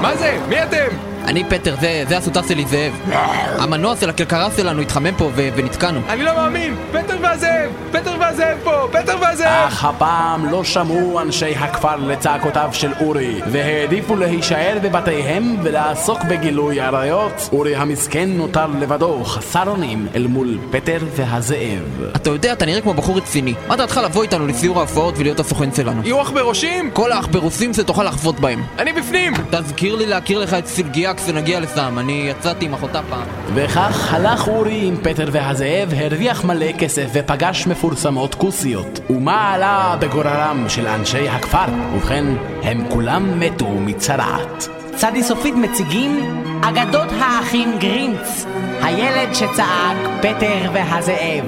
S1: מה זה? מי אתם?
S3: אני פטר, זה, זה הסוטר שלי זאב. המנוע של הכרכרה שלנו התחמם פה ו- ונתקענו.
S1: אני לא מאמין! פטר והזאב! פטר והזאב פה! פטר והזאב!
S12: אך הפעם לא שמעו אנשי הכפר לצעקותיו של אורי, והעדיפו להישאר בבתיהם ולעסוק בגילוי עריות. אורי המסכן נותר לבדו, חסר אונים, אל מול פטר והזאב.
S3: אתה יודע, אתה נראה כמו בחור רציני. מה דעתך לבוא איתנו לסיור ההופעות ולהיות הסוכן שלנו?
S1: יהיו עכברוסים?
S3: כל העכברוסים שתוכל לחבוט בהם.
S1: אני בפנים!
S3: תזכיר לי להכיר לך את סלגיה כשנגיע לסם, אני יצאתי עם אחותה פעם.
S12: וכך הלך אורי עם פטר והזאב, הרוויח מלא כסף ופגש מפורסמות כוסיות. ומה עלה בגורלם של אנשי הכפר? ובכן, הם כולם מתו מצרעת.
S14: צדי סופית מציגים אגדות האחים גרינץ, הילד שצעק פטר והזאב.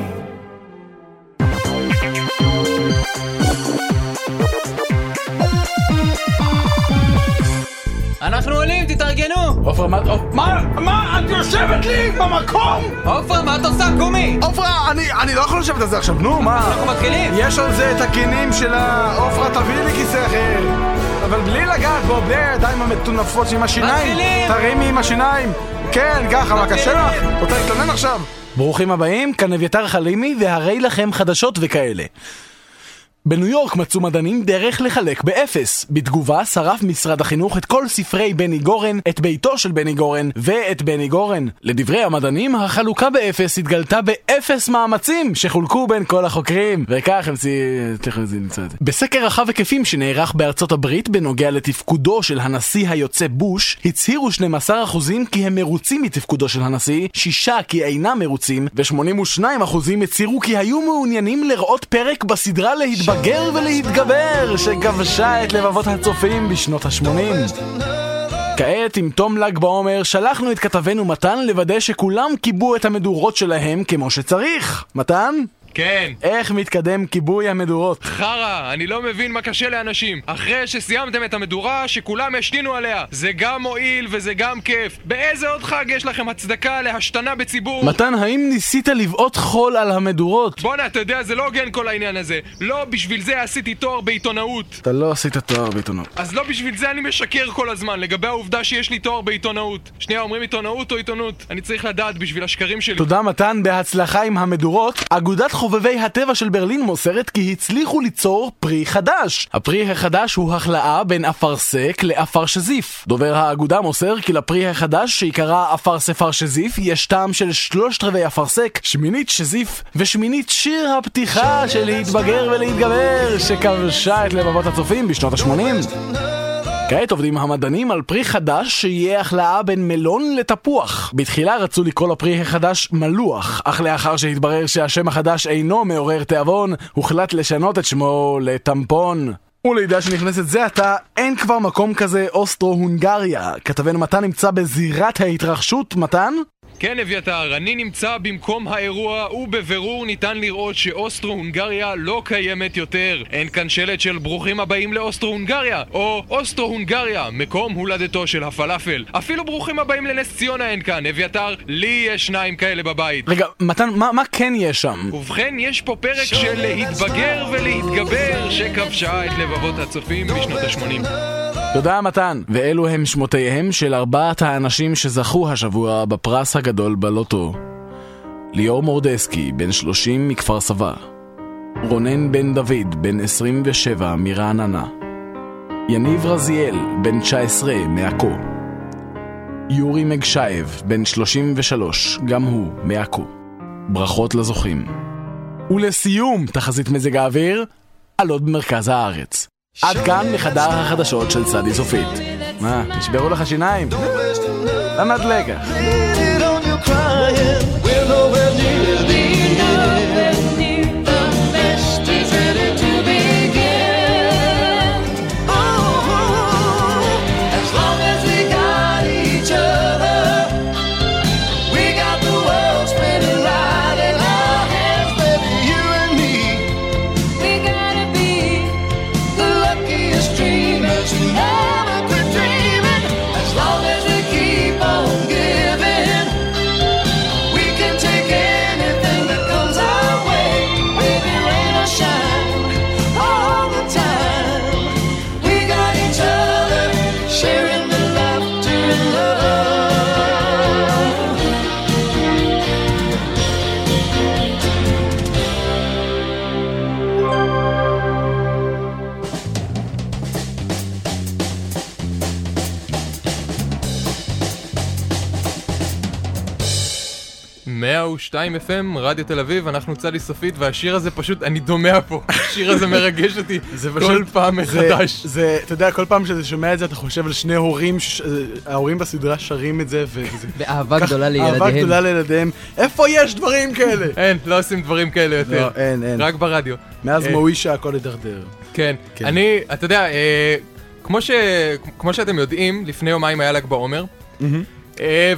S3: אנחנו עולים, תתארגנו!
S12: עופרה, מה...
S13: מה? מה? את יושבת לי במקום?
S3: עופרה, מה את עושה? קומי!
S13: עופרה, אני, אני לא יכול לשבת על זה עכשיו, נו,
S2: אה.
S13: מה?
S3: אנחנו מתחילים.
S13: יש על זה את הקינים של ה... עופרה, תביאי לי כיסא אחר. אבל בלי לגעת בו, בלי הידיים המטונפות עם השיניים.
S3: מתחילים.
S13: תרימי עם השיניים. כן, ככה, מה קשה לך? רוצה להתלונן עכשיו?
S4: ברוכים הבאים, כאן אביתר חלימי, והרי לכם חדשות וכאלה. בניו יורק מצאו מדענים דרך לחלק באפס. בתגובה שרף משרד החינוך את כל ספרי בני גורן, את ביתו של בני גורן ואת בני גורן. לדברי המדענים, החלוקה באפס התגלתה באפס מאמצים שחולקו בין כל החוקרים. וכך הם צי... תכף זה נמצא את זה. בסקר רחב היקפים שנערך בארצות הברית בנוגע לתפקודו של הנשיא היוצא בוש, הצהירו 12% כי הם מרוצים מתפקודו של הנשיא, 6 כי אינם מרוצים, ו-82% הצהירו כי היו מעוניינים לראות פרק בסדרה להתבגר ולהתגבר, שכבשה את לבבות הצופים בשנות ה-80. כעת, עם תום ל"ג בעומר, שלחנו את כתבנו מתן לוודא שכולם כיבו את המדורות שלהם כמו שצריך. מתן?
S1: כן.
S4: איך מתקדם כיבוי המדורות?
S1: חרא, אני לא מבין מה קשה לאנשים. אחרי שסיימתם את המדורה שכולם השתינו עליה. זה גם מועיל וזה גם כיף. באיזה עוד חג יש לכם הצדקה להשתנה בציבור?
S4: מתן, האם ניסית לבעוט חול על המדורות?
S1: בואנה, אתה יודע, זה לא הוגן כל העניין הזה. לא בשביל זה עשיתי תואר בעיתונאות.
S4: אתה לא עשית תואר בעיתונות.
S1: אז לא בשביל זה אני משקר כל הזמן, לגבי העובדה שיש לי תואר בעיתונאות. שנייה, אומרים עיתונאות או עיתונות? אני צריך לדעת בשביל השקרים שלי.
S4: תודה מתן, בהצלחה עם המדורות. אגודת חובבי הטבע של ברלין מוסרת כי הצליחו ליצור פרי חדש. הפרי החדש הוא החלאה בין אפרסק לאפר שזיף. דובר האגודה מוסר כי לפרי החדש שעיקרה אפר ספר שזיף יש טעם של שלושת רבעי אפרסק, שמינית שזיף ושמינית שיר הפתיחה של להתבגר ולהתגבר שכבשה את לבבות הצופים בשנות ה-80. כעת עובדים המדענים על פרי חדש שיהיה החלאה בין מלון לתפוח. בתחילה רצו לקרוא לפרי החדש מלוח, אך לאחר שהתברר שהשם החדש אינו מעורר תיאבון, הוחלט לשנות את שמו לטמפון.
S15: ולידיעה שנכנסת זה עתה, אין כבר מקום כזה אוסטרו-הונגריה.
S4: כתבנו מתן נמצא בזירת ההתרחשות, מתן?
S1: כן, אביתר, אני נמצא במקום האירוע, ובבירור ניתן לראות שאוסטרו-הונגריה לא קיימת יותר. אין כאן שלט של ברוכים הבאים לאוסטרו-הונגריה, או אוסטרו-הונגריה, מקום הולדתו של הפלאפל. אפילו ברוכים הבאים לנס ציונה אין כאן, אביתר, לי יש שניים כאלה בבית.
S4: רגע, מתן, מה, מה כן יש שם?
S1: ובכן, יש פה פרק של להתבגר ולהתגבר, שכבשה את לבבות הצופים בשנות ה-80.
S4: תודה מתן. ואלו הם שמותיהם של ארבעת האנשים שזכו השבוע בפרס הגדול בלוטו. ליאור מורדסקי, בן 30 מכפר סבא. רונן בן דוד, בן 27 מרעננה. יניב רזיאל, בן 19 מעכו. יורי מגשייב, בן 33, גם הוא מעכו. ברכות לזוכים. ולסיום, תחזית מזג האוויר, עלות במרכז הארץ. עד כאן מחדר החדשות של צדי סופית. מה, נשברו לך שיניים? למה את לקח?
S8: Sharing the laughter and love.
S1: מאה ושתיים FM, רדיו תל אביב, אנחנו צדי סופית, והשיר הזה פשוט, אני דומע פה. השיר הזה מרגש אותי כל פעם מחדש.
S16: זה, זה, אתה יודע, כל פעם שאתה שומע את זה, אתה חושב על שני הורים, ש... אה, ההורים בסדרה שרים את זה, וזה...
S3: באהבה גדולה
S16: אהבה
S3: לילדיהם.
S16: גדולה לילדיהם. איפה יש דברים כאלה?
S1: אין, לא עושים דברים כאלה יותר.
S16: לא, אין, אין.
S1: רק ברדיו.
S16: מאז
S1: אה,
S16: מוישה הכל הידרדר.
S1: כן. אני, אתה יודע, אה, כמו ש- כמו שאתם יודעים, לפני יומיים היה ל"ג בעומר. אה,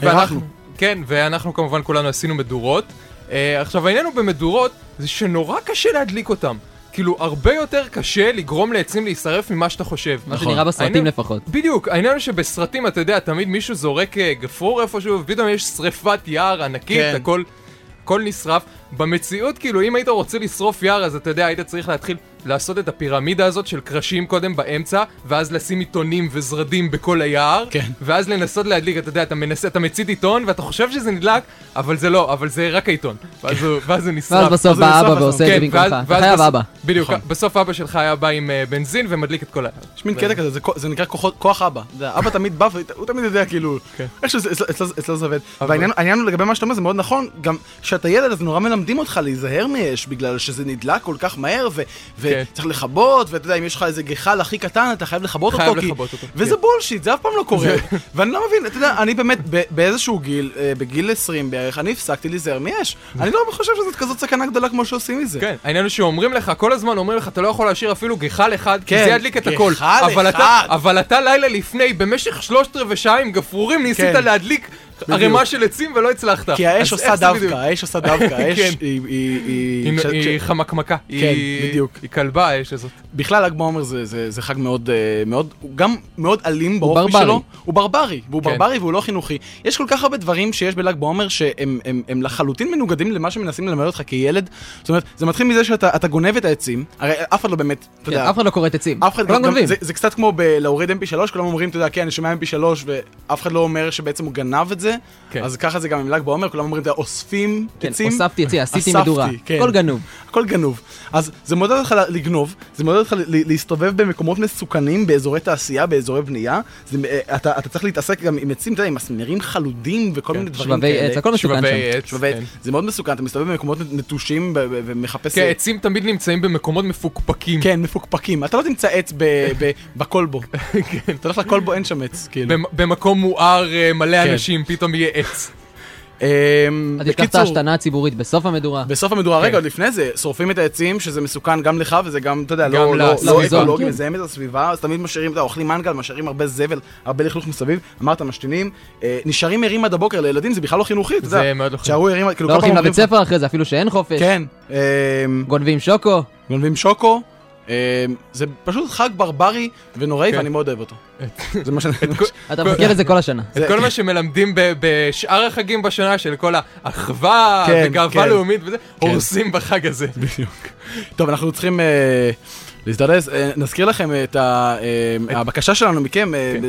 S1: ואנחנו-
S16: אירחנו.
S1: כן, ואנחנו כמובן כולנו עשינו מדורות. אה, עכשיו, העניין הוא במדורות, זה שנורא קשה להדליק אותם. כאילו, הרבה יותר קשה לגרום לעצים להישרף ממה שאתה חושב.
S3: מה שנראה בסרטים
S1: העניין-
S3: לפחות.
S1: בדיוק, העניין הוא שבסרטים, אתה יודע, תמיד מישהו זורק אה, גפרור איפשהו, ופתאום יש שריפת יער ענקית,
S3: כן.
S1: הכל, הכל נשרף. במציאות, כאילו, אם היית רוצה לשרוף יער, אז אתה יודע, היית צריך להתחיל לעשות את הפירמידה הזאת של קרשים קודם באמצע, ואז לשים עיתונים וזרדים בכל היער, כן. ואז לנסות להדליק, אתה יודע, אתה מנסה, אתה מצית עיתון, ואתה חושב שזה נדלק, אבל זה לא, אבל זה רק העיתון. ואז הוא- ואז הוא נשרף.
S3: ואז בסוף
S1: אז הוא
S3: בא
S1: נשרף,
S3: אבא
S1: אז הוא-
S3: ועושה את זה
S1: כן,
S3: במקומך.
S1: ואז-
S3: אתה
S1: ואז
S3: חייב
S1: בסוף-
S3: אבא.
S1: בדיוק,
S3: נכון.
S1: בסוף אבא שלך היה בא עם אה, בנזין ומדליק את כל היער.
S16: יש מין קטע כזה, זה כוח- זה נקרא כוחות- כוח אבא. אתה יודע, אבא תמיד בא, והוא תמיד יודע, כאילו,
S1: כן.
S16: איכשהו זה- אצלו- אצלו- אצלו זה עובד. והעניין העניין הוא לגבי מה שאתה אומר, זה מאוד נכון, גם כשאתה ילד אז נורא מלמדים אותך להיזהר מאש, בגלל שזה נדלק כל כך מהר, ו-
S1: כן.
S16: וצריך לכבות, ואתה יודע, אם יש לך איזה גחל הכי קטן, אתה חייב לכבות
S1: חייב
S16: אותו, כי-
S1: לכבות אותו, כן.
S16: וזה בולשיט, זה אף פעם לא קורה. ואני לא מבין, אתה יודע, אני באמת, ב- באיזשהו גיל, אה, בגיל 20 בערך, אני הפסקתי להיזהר מאש. אני לא חושב שזאת כזאת סכנה גדולה כמו שעושים מזה.
S1: כן, העניין הוא שאומרים לך, כל הזמן אומרים לך, אתה לא יכול להשאיר אפילו גיחל אחד, כי
S16: כן,
S1: זה ידליק את
S16: גיחל
S1: הכל. אבל
S16: אחד.
S1: אתה- אבל אתה לילה לפני, במשך שלושת רבעי שעה עם גפרורים, ניסית
S16: כן.
S1: להדליק
S16: בדיוק.
S1: ערימה של עצים ולא הצלחת.
S16: כי האש
S1: אז
S16: עושה
S1: איך זה
S16: דווקא,
S1: בדיוק?
S16: האש עושה דווקא, האש
S1: כן.
S16: היא- היא- היא-
S1: היא-
S16: כש-
S1: היא
S16: כש-
S1: חמקמקה,
S16: כן,
S1: היא-
S16: בדיוק.
S1: היא כלבה האש הזאת.
S16: בכלל ל"ג בעומר זה, זה, זה חג מאוד, אה, מאוד, הוא גם מאוד אלים באופי
S1: ברברי.
S16: שלו. הוא ברברי. והוא
S1: כן.
S16: ברברי והוא לא חינוכי. יש כל כך הרבה דברים שיש בל"ג בעומר שהם הם, הם לחלוטין מנוגדים למה שמנסים ללמד אותך כילד. זאת אומרת, זה מתחיל מזה שאתה אתה גונב את העצים, הרי אף אחד לא באמת, אתה
S3: כן,
S16: יודע,
S3: אף אחד לא קורא את עצים.
S16: אף אחד,
S3: כולם
S16: גם-
S3: גונבים.
S16: זה, זה קצת כמו ב- להוריד mp3, כולם אומרים, אתה יודע, כן, אני שומע mp3, ואף אחד לא אומר שבעצם הוא גנב את זה,
S4: זה, אז ככה זה גם עם ל"ג בעומר, כולם אומרים את זה, אוספים
S3: כן,
S4: עצים.
S3: אוספתי עצים, עשיתי
S4: אספתי,
S3: מדורה.
S4: כן.
S3: הכל גנוב.
S4: הכל גנוב. אז זה מעודד אותך לגנוב, זה מעודד אותך ל- ל- להסתובב במקומות מסוכנים, באזורי תעשייה, באזורי בנייה. זה, אה, אתה, אתה צריך להתעסק גם עם עצים, אתה יודע, עם מסמרים חלודים וכל מיני דברים
S3: כן, שבבי
S4: כאלה.
S3: עץ, הכל מסוכן שבבי לא שם. עץ,
S4: שבבי עץ.
S1: כן.
S4: זה מאוד מסוכן, אתה מסתובב במקומות נטושים ב- ב- ומחפש...
S1: כן, עצים תמיד נמצאים במקומות מפוקפקים.
S4: כן, מפוקפקים. אתה לא תמצא עץ ב- ב- בקולבו. כן. אתה הולך לקולבו, אין שם עץ, כאילו.
S1: במקום מואר אה, מלא
S4: כן.
S1: אנשים, פתאום יהיה עץ.
S3: אתה
S4: אמ,
S3: תשכח את
S4: בקיצור-
S3: ההשתנה הציבורית בסוף המדורה.
S4: בסוף המדורה,
S3: כן.
S4: רגע, עוד לפני זה, שורפים את העצים, שזה מסוכן גם לך, וזה גם, אתה יודע,
S3: גם
S4: לא- לא
S3: לסביבה.
S4: לא אקולוגי,
S3: כן.
S4: מזהם את הסביבה, אז תמיד משאירים, אתה יודע, אוכלים מנגל, משאירים הרבה זבל, הרבה לכלוך מסביב, אמרת, משתינים, אה, נשארים ערים עד הבוקר לילדים, זה בכלל לא חינוכי, אתה יודע.
S3: זה מאוד לא חינוכי.
S4: תשארו ערים, כאילו,
S3: לא
S4: כל פעם
S3: הולכים לבית
S4: אומרים-
S3: ספר אחרי זה, אפילו שאין חופש.
S4: כן. אה,
S3: גונבים שוקו.
S4: גונבים שוקו. אה, זה פשוט חג ברברי ונוראי,
S1: כן.
S4: ואני מאוד אוהב אותו. זה מה שאני...
S3: אתה מכיר את זה כל השנה.
S1: את כל מה שמלמדים ב- בשאר החגים בשנה של כל האחווה
S4: כן,
S1: וגאווה
S4: כן.
S1: לאומית וזה,
S4: כן.
S1: הורסים בחג הזה.
S4: בדיוק. טוב, אנחנו צריכים אה, להזדרז. אה, נזכיר לכם את ה- אה, הבקשה שלנו מכם. אה,
S3: כן.
S4: ב-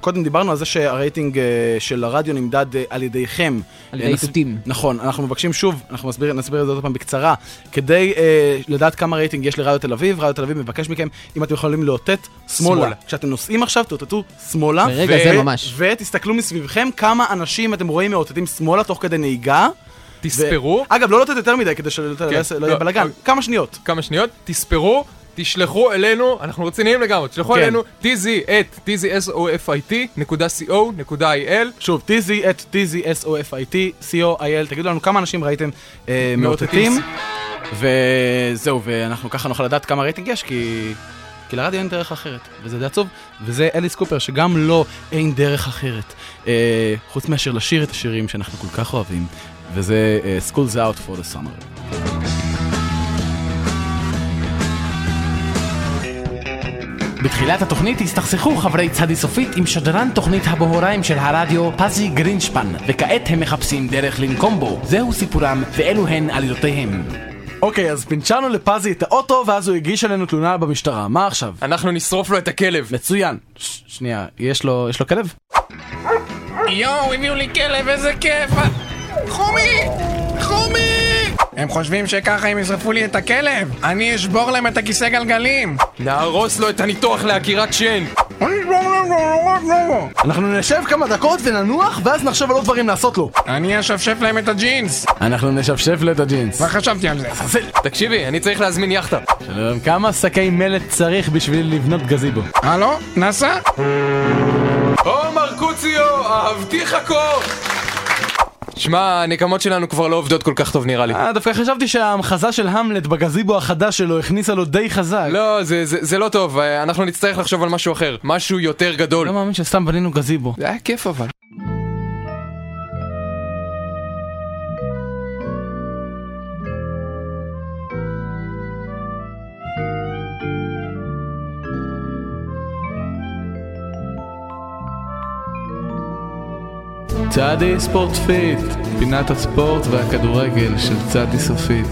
S4: קודם דיברנו על זה שהרייטינג אה, של הרדיו נמדד אה, על ידיכם.
S3: על ידי
S4: אה, נס-
S3: איתותים.
S4: נכון, אנחנו מבקשים שוב, אנחנו מסביר, נסביר את זה עוד פעם בקצרה. כדי אה, לדעת כמה רייטינג יש לרדיו תל אביב, רדיו תל אביב מבקש מכם, אם אתם יכולים לאותת, שמאלה.
S3: שמאלה.
S4: כשאתם נוסעים עכשיו, תאותתו שמאלה.
S3: ברגע
S4: ו-
S3: זה ממש.
S4: ותסתכלו מסביבכם כמה אנשים אתם רואים מאותתים שמאלה תוך כדי נהיגה.
S1: תספרו.
S4: ו... אגב, לא לתת יותר מדי כדי שלא
S1: כן,
S4: לא יהיה בלאגן. כמה שניות.
S1: כמה שניות, תספרו, תשלחו אלינו, אנחנו רציניים לגמרי, תשלחו
S4: כן.
S1: אלינו tz at tzsofit.co.il
S4: שוב, tz at tzsofit, co.il, תגידו לנו כמה אנשים ראיתם אה, מאותתים. וזהו, ואנחנו ככה נוכל לדעת כמה רייטינג יש, כי... כי לרדיו אין דרך אחרת, וזה די עצוב, וזה אליס קופר, שגם לו אין דרך אחרת. אה, חוץ מאשר לשיר את השירים שאנחנו כל כך אוהבים, וזה אה, School's Out for the Summer.
S17: בתחילת התוכנית הסתכסכו חברי צדי סופית עם שדרן תוכנית הבוהריים של הרדיו פזי גרינשפן וכעת הם מחפשים דרך לנקום בו זהו סיפורם ואלו הן עלילותיהם
S4: אוקיי, אז פינצ'רנו לפזי את האוטו, ואז הוא הגיש עלינו תלונה במשטרה. מה עכשיו?
S1: אנחנו נשרוף לו את הכלב.
S4: מצוין. ש- שנייה, יש לו, יש לו כלב?
S2: יואו, הביאו לי כלב, איזה כיף! חומי! חומי! הם חושבים שככה הם ישרפו לי את הכלב? אני אשבור להם את הכיסא גלגלים!
S1: נהרוס לו את הניתוח לעקירת שן.
S4: אנחנו נשב כמה דקות וננוח, ואז נחשוב על עוד דברים לעשות לו.
S2: אני אשפשף להם את הג'ינס!
S4: אנחנו נשפשף לו את הג'ינס.
S2: מה חשבתי על זה?
S1: תקשיבי, אני צריך להזמין יאכטה.
S4: שלום, כמה שקי מלט צריך בשביל לבנות גזיבו?
S2: הלו? נסע?
S1: או מרקוציו, אהבתיך כה! שמע, הנקמות שלנו כבר לא עובדות כל כך טוב נראה לי.
S4: אה, דווקא חשבתי שההמחזה של המלט בגזיבו החדש שלו הכניסה לו די חזק.
S1: לא, זה, זה, זה לא טוב, אה, אנחנו נצטרך לחשוב על משהו אחר, משהו יותר גדול.
S4: לא מאמין שסתם בנינו גזיבו.
S1: זה היה כיף אבל.
S18: צעדי ספורט פיט, פינת הספורט והכדורגל של צעדי סופית.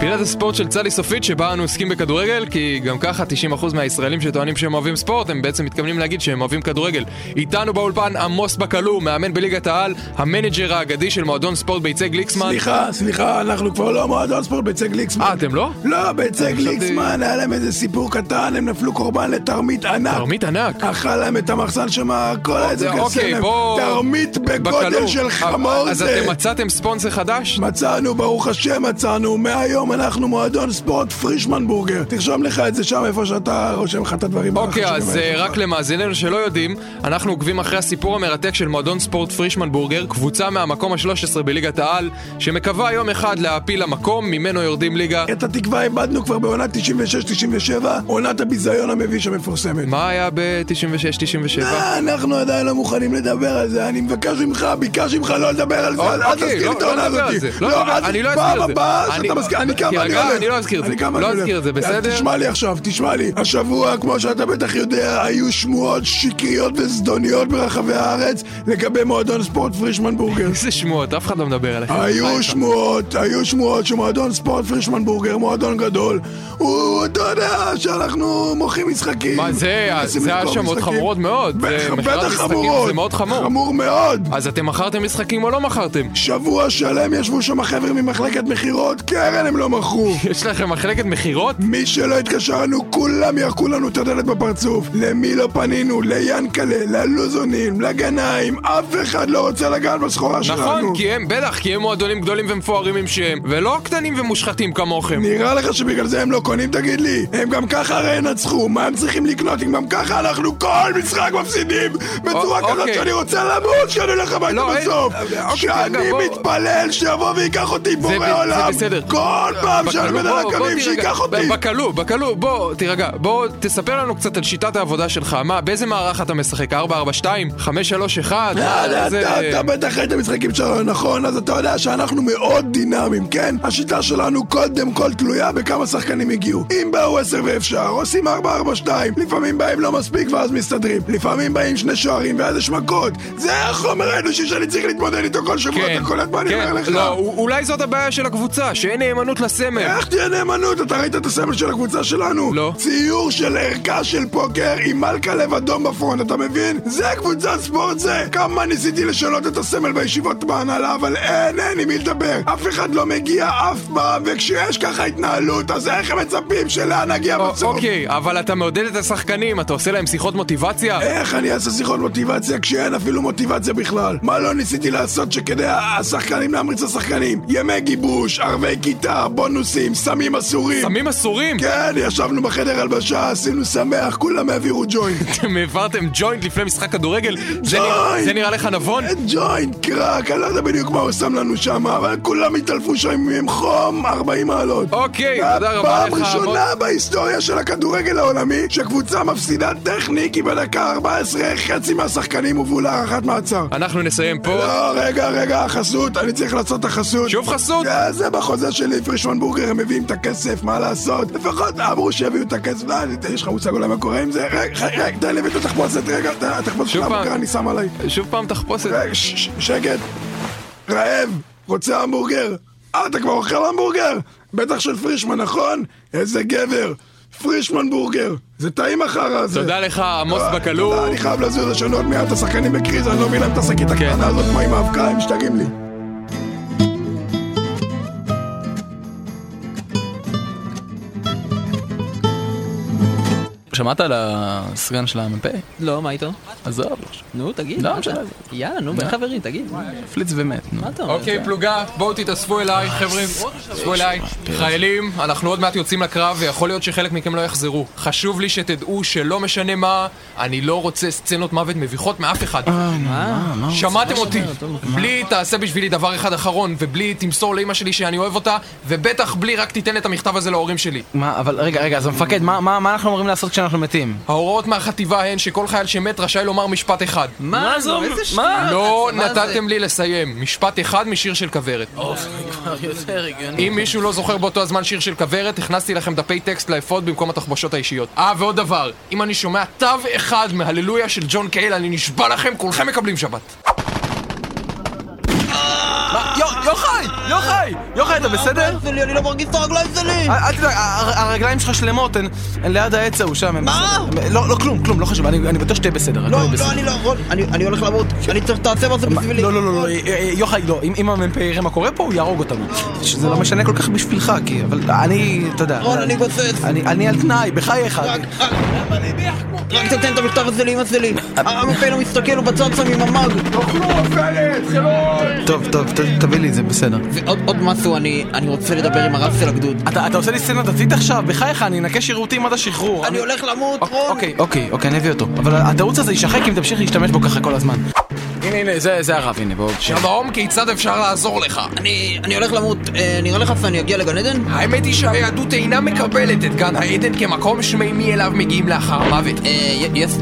S1: פינת הספורט של צלי סופית שבה אנו עוסקים בכדורגל כי גם ככה 90% מהישראלים שטוענים שהם אוהבים ספורט הם בעצם מתכוונים להגיד שהם אוהבים כדורגל. איתנו באולפן עמוס בקלו, מאמן בליגת העל, המנג'ר האגדי של מועדון ספורט ביצי גליקסמן.
S6: סליחה, סליחה, אנחנו כבר לא מועדון ספורט ביצי גליקסמן. אה,
S1: אתם לא?
S6: לא, ביצי
S1: אני חשבתי-
S6: גליקסמן, היה להם איזה סיפור קטן, הם נפלו קורבן לתרמית ענק.
S1: תרמית ענק?
S6: אכל להם את המחסן שם, כל איזה
S1: אוקיי,
S6: קסם.
S1: בוא...
S6: תרמית בגודל
S1: בקלו.
S6: של חמור
S1: אה, אז
S6: זה.
S1: אתם מצאתם ספונסר חדש?
S6: מצאנו, ברוך השם מצאנו, מהיום אנחנו מועדון ספורט פרישמן בורגר. תרשום לך את זה שם איפה שאתה רושם לך את הדברים.
S1: אוקיי,
S6: החשובים
S1: אז
S6: האלה.
S1: אה, רק למאזיננו שלא יודעים, אנחנו עוקבים אחרי הסיפור המרתק של מועדון ספורט פרישמן בורגר, קבוצה מהמקום ה-13 בליגת העל, שמקווה יום אחד להעפיל למקום, ממנו יורדים ליגה.
S6: את התקווה איבדנו כבר בעונת 96-97, עונת הביזיון המביש המפורסמת.
S1: מה היה ב-96-97?
S6: אה, אנחנו עדיין לא מוכנים לדבר על זה, אני מבקש ממך, ביקשתי ממך לא לדבר על זה, אל
S1: אוקיי,
S6: אל תזכיר
S1: לא-
S6: את
S1: לא
S6: העונה
S1: נדבר על
S6: הזאת.
S1: זה, לא נדבר-
S6: אל-
S1: אני לא אזכיר את
S6: פעם
S1: זה.
S6: הבאה
S1: אני-
S6: שאתה מזכיר, אני אני גם אני
S1: תירגע,
S6: הולך.
S1: אני לא אזכיר את זה.
S6: גם
S1: לא
S6: אני
S1: אזכיר
S6: הולך.
S1: את זה,
S6: אז
S1: בסדר?
S6: תשמע לי עכשיו, תשמע לי. השבוע, כמו שאתה בטח יודע, היו שמועות שקריות וזדוניות ברחבי הארץ לגבי מועדון ספורט פרישמן בורגר.
S1: איזה שמועות, אף אחד לא מדבר עליך.
S6: היו שמועות, היו שמועות שמועדון ספורט פרישמן בורגר, מועדון גדול, הוא, אתה יודע, שאנחנו מוכרים משחקים.
S1: מה זה, אה,
S6: מנסים
S1: זה
S6: למכור
S1: האשמות
S6: משחקים.
S1: חמורות מאוד. זה
S6: בטח,
S1: מכירת
S6: בטח
S1: משחקים,
S6: חמורות.
S1: זה מאוד חמור.
S6: חמור מאוד.
S1: אז אתם מכרתם משחקים או לא מכרתם?
S6: שבוע שלם ישבו שם החבר'ה ממחלקת מכירות, קרן הם לא מכרו.
S1: יש לכם מחלקת מכירות?
S6: מי שלא התקשרנו, כולם ירקו לנו את הדלת בפרצוף. למי לא פנינו? ליענקלה, ללוזונים, לגנאים, אף אחד לא רוצה לגעת בסחורה שלנו.
S1: נכון, כי הם, בטח, כי הם מועדונים גדולים ומפוארים עם שם, ולא קטנים ומושחתים כמוכם.
S6: נראה לך שבגלל זה הם לא קונים? תגיד לי, הם גם ככה הרי ינצחו, מה הם צריכים לקנות אם גם ככה אנחנו כל משחק מפסידים בצורה
S1: א-
S6: כזאת
S1: אוקיי.
S6: שאני רוצה למות שאני הולך הביתה
S1: לא, אין-
S6: בסוף,
S1: אוקיי,
S6: שאני
S1: רגע, בוא.
S6: מתפלל שיבוא וייקח אותי
S1: זה ב-
S6: בורא
S1: זה
S6: עולם,
S1: בסדר.
S6: כל פעם שאני
S1: בכלוא,
S6: עומד
S1: בוא,
S6: על
S1: בוא
S6: הקווים
S1: תירגע.
S6: שייקח אותי.
S1: ב- בכלוא, בכלוא, בוא, תירגע. בוא, תספר לנו קצת על שיטת העבודה שלך. מה, באיזה מערך אתה משחק? 442? 531?
S6: אה, אתה-
S1: איזה-
S6: אתה- אתה בטח ראית משחקים שלנו, נכון? אז אתה יודע שאנחנו מאוד דינמיים, כן? השיטה שלנו קודם כל תלויה בכמה שחקנים הגיעו. אם באו עשר ואפשר, עושים ארבע ארבע שתיים. לפעמים באים לא מספיק ואז מסתדרים. לפעמים באים שני שוערים ואז יש מכות. זה החומר האנושי שאני צריך להתמודד איתו כל שבוע, אתה קולט מה אני
S1: כן,
S6: אומר לך?
S1: לא, א- אולי זאת הבעיה של הקבוצה, שאין נאמנות לסמל. אה,
S6: איך תהיה נאמנות? אתה ראית את הסמל של הקבוצה שלנו? לא. ציור של ערכה של פוקר עם מלכה לב אדום בפרונט, אתה מבין? זה קבוצת ספורט זה! כמה ניסיתי לשנות את הסמל בישיבות בהנהלה, אבל אין, אין עם מי לדבר. אף אחד לא מגיע אף פעם, וכשיש ככה התנהלות, אז איך הם מצפים שלאן נגיע
S1: א-
S6: בסוף?
S1: אוקיי, אבל אתה מעודד את השחקנים, אתה עושה להם שיחות מוטיבציה?
S6: איך אני אעשה שיחות מוטיבציה כשאין אפילו מוטיבציה בכלל? מה לא ניסיתי לעשות שכדי השחקנים להמריץ לשחקנים? ימי גיבוש, ערבי כיתה, בונוסים, סמים אסורים.
S1: סמים אסורים?
S6: כן, ישבנו בחדר הלבשה, עשינו שמח, כולם העבירו ג'וינט.
S1: אתם העברתם ג'וינט לפני משחק כדורגל? זה נראה-
S6: ג'וינט!
S1: זה נראה לך נבון?
S6: ג'וינט, קרק, אני לא יודע בדיוק מה הוא שם לנו שם, אבל כולם התעלפו שם עם חום 40 מעלות.
S1: אוקיי, תודה רבה לך,
S6: פעם ראשונה
S1: מוטי.
S6: בהיסטוריה של הכדורגל העולמי, שקבוצה מפסידה טכני, כי בדקה 14 חצי מהשחקנים הובאו להארכת מעצר.
S1: אנחנו נסיים פה.
S6: לא, רגע, רגע, החסות, אני צריך לעשות את החסות.
S1: שוב חסות?
S6: זה- זה בחוזה שלי, פרישמן בורגר, הם מביאים את הכסף, מה לעשות? לפחות אמרו שיביאו את הכסף, לא, אני- יש לך מושג אולי מה קורה עם זה? רגע, רגע, תן לי את התחפושת, רגע, את התחפושת של
S1: שוב פעם.
S6: הבוקר אני שם עליי.
S1: שוב פעם תחפושת.
S6: אוקיי. שקט. רעב, רוצה המבורגר? אה, אתה כבר אוכל המבורגר? בטח של פרישמן, נכון? איזה גבר. פרישמן בורגר, זה טעים החרא הזה.
S1: תודה לך, עמוס בקלור.
S6: אני חייב להזיז לשנות עוד מעט את השחקנים בקריז, אני לא מבין להם את השקית הקטנה הזאת, מה עם האבקה, הם משתגעים לי.
S19: שמעת על הסגן של המ"פ?
S9: לא, מה איתו?
S19: עזוב.
S9: נו, תגיד.
S19: לא,
S9: מה אתה?
S19: משנה.
S9: יאללה, נו,
S4: לא.
S9: בין
S19: מה?
S9: חברים, תגיד.
S19: פליץ ומת, נו.
S9: מה אתה אומר?
S1: אוקיי, פלוגה, בואו תתאספו אליי, חברים. תתאספו אליי. חיילים, אנחנו עוד מעט יוצאים לקרב, ויכול להיות שחלק מכם לא יחזרו. חשוב לי שתדעו שלא משנה מה, אני לא רוצה סצנות מוות מביכות מאף אחד.
S19: אה, מה הוא
S1: שמעתם
S19: רוצה?
S1: אותי.
S19: מה שאומר, טוב.
S1: בלי תעשה בשבילי דבר אחד אחרון, ובלי תמסור לאימא שלי שאני אוהב אותה, ובטח בלי רק תיתן את המכתב הזה להורים שלי.
S19: מה, אבל רגע, רגע, אז המפקד, מה- מה מה אנחנו אמורים לעשות כשאנחנו מתים?
S1: ההוראות מהחטיבה הן שכל חייל שמת רשאי לומר משפט אחד.
S19: מה זה אומר? איזה שטויות.
S1: לא
S19: מה זה? אוקיי,
S1: נתתם לי לסיים. משפט אחד משיר של כוורת. אם מישהו לא זוכר באותו הזמן שיר של כוורת, הכנסתי לכם דפי טקסט לאפוד במקום התחבושות האישיות. אה, ועוד דבר, אם אני שומע תו אחד מהללויה של ג'ון קייל, אני נשבע לכם, כולכם מקבלים שבת.
S19: יוחאי! יוחאי! יוחאי, אתה בסדר? אה,
S3: אני לא מרגיש את הרגליים שלי!
S19: אל תדאג, הר- הרגליים שלך שלמות, הן הן ליד העץ ההוא שם, הן
S3: מה?
S19: בסדר. לא, לא, כלום, כלום, לא חשוב, אני אני בטוח שתהיה בסדר.
S3: לא,
S19: הכל
S3: לא,
S19: בסדר.
S3: אני לא יכול, אני אני הולך למות, אני צריך את העצב הזה בשבילי.
S19: לא, לא, לא, לא, אה, אה, יוחאי, לא, אם- אם המ"פ יראה מה קורה פה, הוא יהרוג אותנו. שזה לא משנה כל כך בשבילך, כי... אבל אני, אתה יודע.
S3: רון, אני גוסס.
S19: אני אני על תנאי, בחייך.
S3: רק תתן את המכתב הזה לאמא שלי. המפעיל מסתכל, הוא בצד שם עם המאג. תאכלו, פלט, חילון!
S19: טוב, טוב, ת- תביא לי את זה, בסדר.
S3: עוד משהו, אני אני רוצה לדבר עם הרב של הגדוד.
S19: אתה אתה עושה לי סצנה דתית עכשיו? בחייך, אני אנקה שירותים עד השחרור.
S3: אני הולך למות, רון!
S19: אוקיי, אוקיי, אוקיי, אני אביא אותו. אבל התירוץ הזה יישחק אם תמשיך להשתמש בו ככה כל הזמן. הנה, הנה, זה זה הרב, הנה, בואו.
S1: שלום, כיצד אפשר לעזור לך?
S3: אני אני הולך למות, אה, נראה לך שאני אגיע לגן עדן?
S1: האמת היא שהיהדות אינה מקבלת את גן העדן כמקום שמימי אליו מגיעים לאחר המוות.
S3: אה,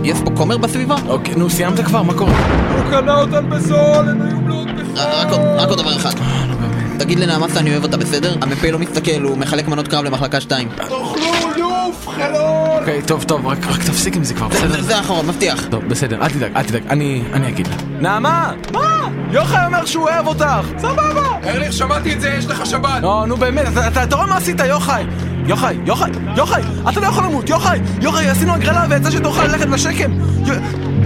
S3: יש פה כומר בסביבה?
S19: אוקיי, נו, סיימת כבר, מה קורה?
S4: אה, לא,
S3: הוא קנה אותן בזול, הן היו בלוד בכלל. רק עוד דבר אחד. תגיד לנעמה שאני אוהב אותה, בסדר? המ"פ לא מסתכל, הוא מחלק מנות קרב למחלקה 2.
S6: תאכלו לוף, חלום!
S12: אוקיי, טוב, טוב, רק רק תפסיק עם זה כבר, בסדר?
S3: זה האחרון, מבטיח.
S12: טוב, בסדר, אל תדאג, אל תדאג, אני אני אגיד לה.
S19: נעמה! מה? יוחאי אומר שהוא אוהב אותך! סבבה!
S1: ארליך, שמעתי את זה, יש לך שבת!
S19: לא, נו באמת, אתה- אתה אתה רואה מה עשית, יוחאי? יוחאי, יוחאי, יוחאי, אתה לא יכול למות, יוחאי! יוחאי, עשינו הגרלה ויצא שתוכל ללכת לשקם! יו-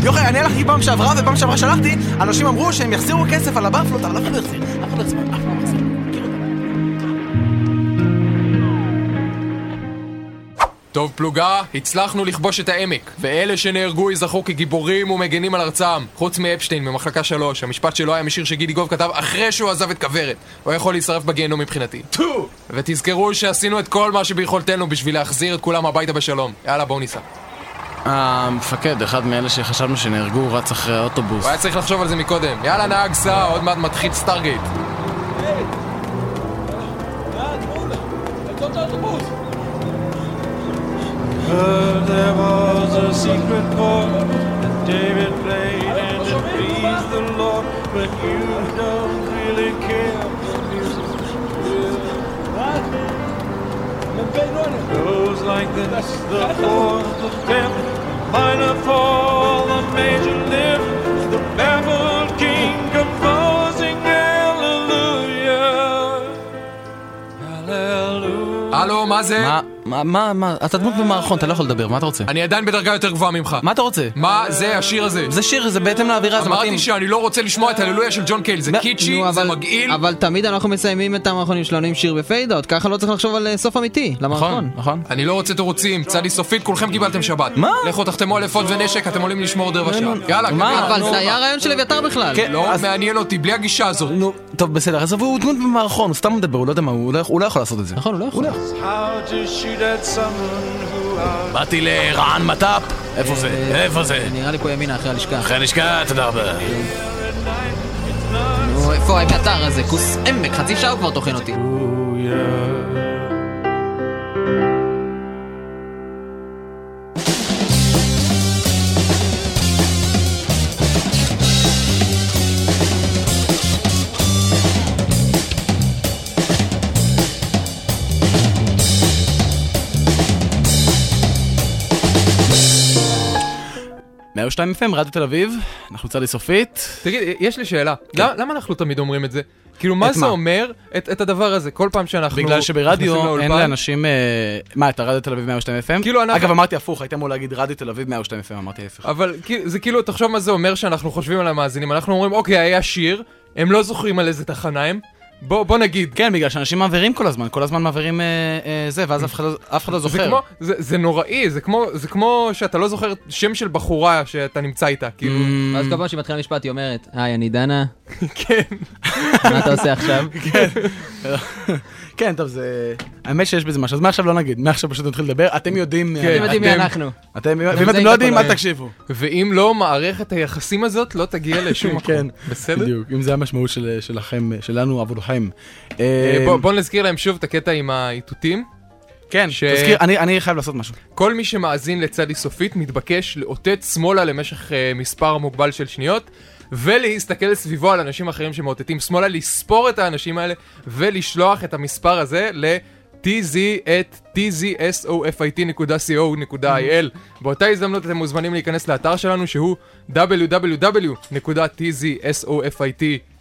S19: יוחאי, אני הלכתי פעם שעברה, ופעם שעברה שלחתי, אנשים אמרו שהם יחזירו כסף על הבאפלות, אבל אף אחד לא יחזיר, אף אחד לא יחזיר, אף אחד לא יחזיר.
S1: טוב פלוגה, הצלחנו לכבוש את העמק, ואלה שנהרגו ייזכרו כגיבורים ומגנים על ארצם. חוץ מאפשטיין ממחלקה 3, המשפט שלו היה משיר שגידי גוב כתב אחרי שהוא עזב את כוורת. הוא היה יכול להישרף בגיהנום מבחינתי. טו! ותזכרו שעשינו את כל מה שביכולתנו בשביל להחזיר את כולם הביתה בשלום. יאללה, בואו ניסע.
S4: המפקד, אחד מאלה שחשבנו שנהרגו, רץ אחרי האוטובוס.
S1: הוא היה צריך לחשוב על זה מקודם. יאללה, נהג סע, עוד מעט מתחיל סטארגייט.
S8: Heard there was a secret chord that David played and it pleased the Lord, but you don't really care. Goes like this: the fourth, the fifth, minor fall, the major lift, the baffled king composing hallelujah, hallelujah.
S1: הלו, מה זה?
S4: מה, מה, מה, מה, אתה דמות במערכון, אתה לא יכול לדבר, מה אתה רוצה?
S1: אני עדיין בדרגה יותר גבוהה ממך.
S4: מה אתה רוצה?
S1: מה זה השיר הזה?
S19: זה שיר, זה בהתאם לאווירה,
S1: זה מתאים. אמרתי שאני לא רוצה לשמוע את הללויה של ג'ון קייל, זה קיצ'י,
S3: נו,
S1: זה
S3: אבל-
S1: מגעיל.
S3: אבל תמיד אנחנו מסיימים את המערכונים שלנו עם שיר בפיידאוט, ככה לא צריך לחשוב על אה, סוף אמיתי, למערכון.
S4: נכון.
S1: אני לא רוצה תירוצים, צדי סופית, כולכם קיבלתם שבת. מה? לכו תחתמו על אפוד ונשק, אתם עולים לשמור עוד רבע שעה. יאללה, קדימה.
S3: אבל זה היה הרעיון של אביתר בכלל.
S4: כן.
S1: לא מעניין אותי, בלי הגישה הזאת.
S4: נו, כאילו, טוב, בסדר, עזוב, הוא דמות במערכון, הוא סתם מדבר, הוא לא יודע מה, הוא לא- הוא לא יכול לעשות את זה. נכון, הוא לא יכול.
S8: How to shoot at someone who out
S12: באתי לרען מט"פ, איפה
S4: אה,
S12: זה? איפה זה?
S3: נראה לי פה ימינה אחרי הלשכה.
S12: אחרי הלשכה, תודה רבה.
S3: נו, איפה האביתר הזה? כוס עמק, חצי שעה הוא כבר טוחן אותי.
S4: מאה ושתיים FM, רדיו תל אביב, אנחנו צדי סופית.
S1: תגיד, יש לי שאלה. למה למה אנחנו תמיד אומרים את זה? כאילו, מה
S4: כן. את
S1: זה
S4: מה?
S1: אומר את את הדבר הזה? כל פעם שאנחנו...
S4: בגלל
S1: נכנסים
S4: שברדיו אין
S1: לאולפן-
S4: לאנשים... אה, מה, את הרדיו תל אביב 102 FM?
S1: כאילו אנחנו-
S4: אגב, אמרתי הפוך, הייתי אמור להגיד רדיו תל אביב 102 FM, אמרתי ההפך.
S1: אבל כאילו- זה כאילו, תחשוב מה זה אומר שאנחנו חושבים על המאזינים. אנחנו אומרים, אוקיי, היה שיר, הם לא זוכרים על איזה תחנה הם. בוא בוא נגיד.
S4: כן, בגלל שאנשים מעבירים כל הזמן, כל הזמן מעבירים אה, אה, זה, ואז אף אחד לא- אף אחד לא
S1: זה
S4: זוכר.
S1: כמו, זה, זה נוראי, זה כמו, זה כמו שאתה לא זוכר שם של בחורה שאתה נמצא איתה, כאילו.
S4: Mm.
S3: ואז כל פעם שהיא מתחילה משפט היא אומרת, היי, אני דנה. כן. מה אתה עושה עכשיו?
S4: כן. כן, טוב, זה... האמת שיש בזה משהו, אז מעכשיו לא נגיד, מעכשיו פשוט נתחיל לדבר, אתם יודעים... מי אנחנו. אתם- כן. אתם, ואם אתם לא יודעים, אל תקשיבו.
S1: ואם לא, מערכת היחסים הזאת לא תגיע לשום מקום.
S4: כן,
S1: בסדר?
S4: בדיוק, אם זה המשמעות של- שלכם, שלנו עבורכם.
S1: אה,
S4: אה,
S1: בוא, בוא נזכיר להם שוב את הקטע עם האיתותים.
S4: כן,
S1: ש...
S4: תזכיר, אני- אני חייב לעשות משהו.
S1: כל מי שמאזין לצדי סופית מתבקש לאותת שמאלה למשך אה, מספר מוגבל של שניות. ולהסתכל סביבו על אנשים אחרים שמאותתים שמאלה, לספור את האנשים האלה ולשלוח את המספר הזה ל... tz at tzsofit.co.il באותה הזדמנות אתם מוזמנים להיכנס לאתר שלנו שהוא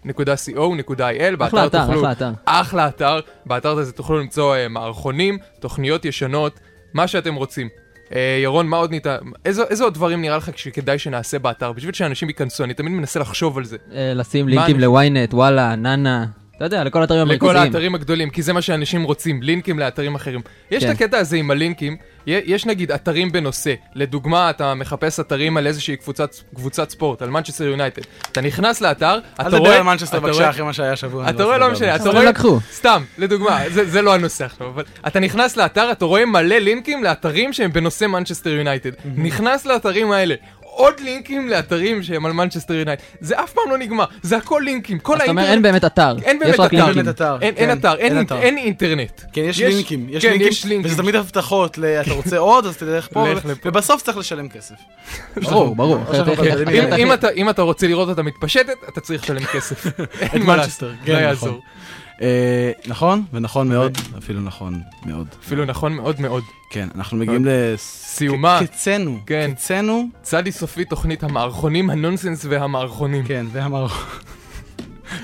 S1: www.tzsofit.co.il באתר
S3: אחלה אתר,
S1: תוכלו
S3: אחלה אתר.
S1: אחלה אתר, באתר הזה תוכלו למצוא אה, מערכונים, תוכניות ישנות, מה שאתם רוצים. אה, ירון, מה עוד ניתן? איזה, איזה עוד דברים נראה לך שכדאי שנעשה באתר? בשביל שאנשים ייכנסו, אני תמיד מנסה לחשוב על זה.
S3: אה, לשים
S1: מה
S3: לינקים
S1: אני-
S3: לוויינט, וואלה, נאנה. אתה יודע, לכל האתרים
S1: לכל
S3: המרכזיים.
S1: האתרים הגדולים, כי זה מה שאנשים רוצים, לינקים לאתרים אחרים. יש
S3: כן.
S1: את הקטע הזה עם הלינקים, י- יש נגיד אתרים בנושא. לדוגמה, אתה מחפש אתרים על איזושהי קבוצת, קבוצת ספורט, על מנצ'סטר יונייטד. אתה נכנס לאתר, אתה רואה...
S4: אל תדבר על מנצ'סטר
S1: אתה
S4: בבקשה
S1: רואה-
S4: אחרי מה שהיה השבוע.
S1: אתה רואה, לא משנה, אתה
S4: אבל
S1: רואה,
S4: לקחו.
S1: סתם, לדוגמה, זה זה לא הנושא עכשיו, אבל אתה נכנס לאתר, אתה רואה מלא לינקים לאתרים שהם בנושא מנצ'סטר יונייטד. נכנס לאתרים האלה. עוד לינקים לאתרים שהם על מנצ'סטר יונייטד. זה אף פעם לא נגמר, זה הכל לינקים, כל
S3: זאת
S1: האינטרנט...
S3: אומרת, אין באמת אתר.
S1: כן- אין באמת
S3: יש רק
S1: אתר.
S3: לינקים. אין באמת
S1: אתר.
S3: אתר,
S1: אין
S3: כן.
S1: אתר, אין
S3: אין
S1: אינט-
S3: אתר.
S1: אין אינטרנט.
S4: כן, יש לינקים, יש לינקים, וזה תמיד הבטחות, ל- אתה רוצה עוד, אז תלך פה,
S1: לך לפה.
S4: ובסוף צריך לשלם כסף. כן,
S1: או שאתה
S4: אחרת איך-
S1: בקדמיה.
S4: איך-
S1: כן. אם- אם אתה- אם אתה רוצה לראות אותה מתפשטת, אתה צריך לשלם כסף.
S4: את
S1: אין מה לעשות,
S4: מנצ'סטר,
S1: לא
S4: כן,
S1: יעזור.
S4: נכון. אה, נכון, ונכון מאוד, אפילו נכון מאוד.
S1: אפילו נכון מאוד מאוד.
S4: כן, אנחנו מגיעים לס...
S1: אוקיי. סיומה.
S4: קצנו.
S1: כן.
S4: קצנו.
S1: צדי סופי תוכנית המערכונים, הנונסנס והמערכונים.
S4: כן, והמערכונים.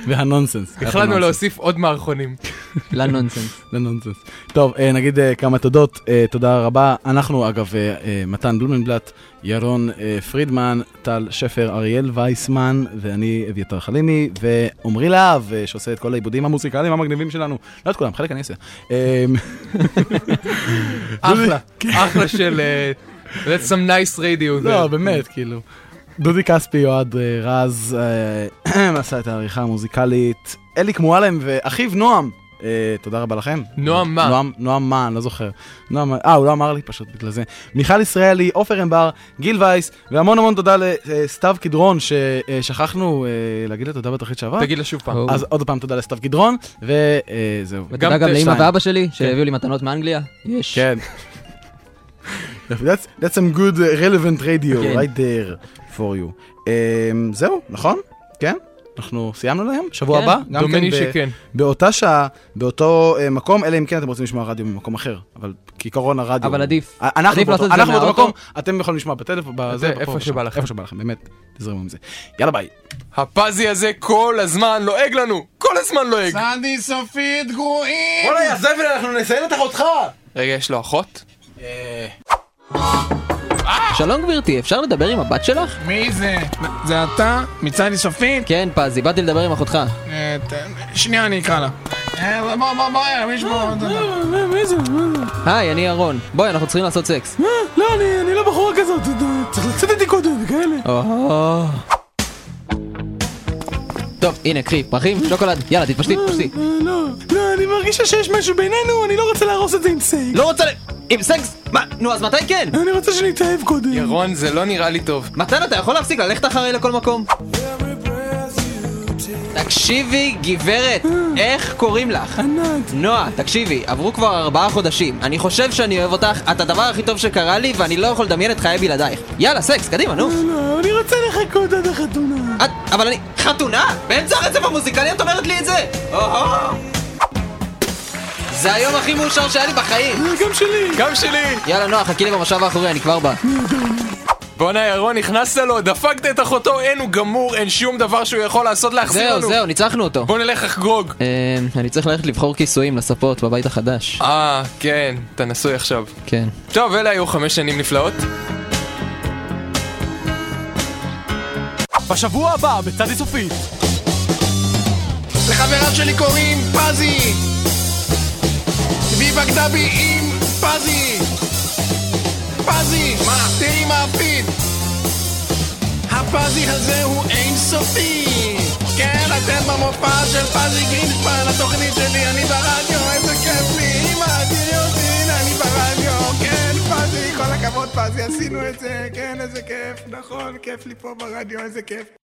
S4: והנונסנס.
S1: החלטנו להוסיף עוד מערכונים.
S6: כן.
S4: לנונסנס. לנונסנס. טוב, אה, נגיד אה, כמה תודות. אה, תודה רבה. אנחנו, אגב, אה, אה, מתן בלומנבלט, ירון אה, פרידמן, טל שפר, אריאל וייסמן, ואני אביתר חלימי, ועמרי להב, אה, שעושה את כל העיבודים המוזיקליים המגניבים שלנו. לא את כולם, חלק אני אעשה. אה,
S1: אחלה, אחלה של... אה, That's some nice radio.
S4: לא,
S1: זה-
S4: באמת, כאילו. דודי כספי, יועד אה, רז, אה, עשה את העריכה המוזיקלית. אליק מועלם ואחיו נועם. אה, תודה רבה לכם.
S1: נועם מה?
S4: נועם, נועם מה, אני לא זוכר. נועם מה, אה, הוא לא אמר לי פשוט בגלל זה. מיכל ישראלי, עופר אמבר, גיל וייס, והמון המון תודה לסתיו קדרון, ששכחנו אה, להגיד לה תודה בתוכנית שעברה.
S1: תגיד לה שוב פעם.
S4: אז עוד פעם תודה לסתיו קדרון, אה, וזהו.
S3: ותודה גם לאמא ואבא שלי,
S1: כן.
S3: שהביאו לי מתנות מאנגליה. יש.
S4: כן. That's, that's some good uh, relevant radio
S3: כן.
S4: right there for you. Um, זהו, נכון? כן? אנחנו סיימנו להם? שבוע
S1: כן.
S4: הבא? גם
S1: דומני
S4: ב-
S1: שכן.
S4: באותה שעה, באותו uh, מקום, אלא אם כן אתם רוצים לשמוע רדיו ממקום אחר. אבל כעיקרון הרדיו...
S3: אבל עדיף.
S4: א- אה, אנחנו
S3: עדיף
S4: באותו,
S3: לעשות את זה
S4: אנחנו באותו
S3: מהאוטו.
S4: מקום, אתם יכולים לשמוע בטלפון, בזה,
S1: איפה
S4: בפה,
S1: שבא
S4: שם.
S1: לכם.
S4: איפה שבא לכם, באמת, תזרמו עם זה. יאללה ביי.
S1: הפזי הזה כל הזמן לועג לנו! כל הזמן לועג!
S6: צדי סופית גרועים!
S1: וואלה, יא
S6: זבל, אנחנו נסיים את אחותך!
S1: רגע, יש לו אחות?
S3: שלום גברתי, אפשר לדבר עם הבת שלך?
S6: מי זה? זה אתה? מצדי סופית?
S3: כן, פזי, באתי לדבר עם אחותך.
S6: אה, ת- שנייה, אני אקרא לה. אה, בוא, בוא, בוא, יש
S20: אה,
S6: פה...
S3: מי זה? היי, אני אהרון. בואי, אנחנו צריכים לעשות סקס.
S20: לא, אני לא בחורה כזאת, צריך לצאת איתי קודם, כאלה.
S3: או. טוב, הנה, קחי, פרחים, שוקולד, יאללה, תתפשטי, תתפשטי.
S20: לא, לא, אני מרגישה שיש משהו בינינו, אני לא רוצה להרוס את זה עם אה, סייק.
S3: לא רוצה ל... עם סקס? מה? נו, אז מתי כן?
S20: אני רוצה שנתאהב קודם.
S1: ירון, זה לא נראה לי טוב.
S3: מתן, אתה יכול להפסיק ללכת אחריי לכל מקום? תקשיבי, גברת, איך קוראים לך? ענת. נועה, תקשיבי, עברו כבר ארבעה חודשים. אני חושב שאני אוהב אותך, את הדבר הכי טוב שקרה לי, ואני לא יכול לדמיין את חיי בלעדייך. יאללה, סקס, קדימה, נו.
S20: לא, אני רוצה לחכות עד החתונה.
S3: את, אבל אני... חתונה? באמצע הרצף המוזיקלי את אומרת לי את זה? או-הו. זה היום הכי מאושר שהיה לי בחיים.
S20: גם שלי.
S1: גם שלי.
S3: יאללה, נועה, חכי לי במושב האחורי, אני כבר בא.
S1: בואנה, ירון, נכנסת לו, דפקת את אחותו, אין, הוא גמור, אין שום דבר שהוא יכול לעשות להחזיר
S3: זהו,
S1: לנו.
S3: זהו, ניצחנו אותו.
S1: בוא נלך לחגוג.
S3: אה, אני צריך ללכת לבחור כיסויים לספות בבית החדש.
S1: אה, כן, אתה נשוי עכשיו.
S3: כן.
S1: טוב, אלה היו חמש שנים נפלאות.
S21: בשבוע הבא, בצדי סופית.
S6: לחבריו שלי קוראים פזי! והיא בגדה בי עם פזי! פזי! מה? תראי מה הפיד! הפזי הזה הוא אינסופי! כן, אתם במופע של פזי גרינשפן, התוכנית שלי, אני ברדיו, איזה כיף לי! אמא, תראי אותי, הנה אני ברדיו! כן, פזי, כל הכבוד פזי, עשינו את זה! כן, איזה כיף! נכון, כיף לי פה ברדיו, איזה כיף!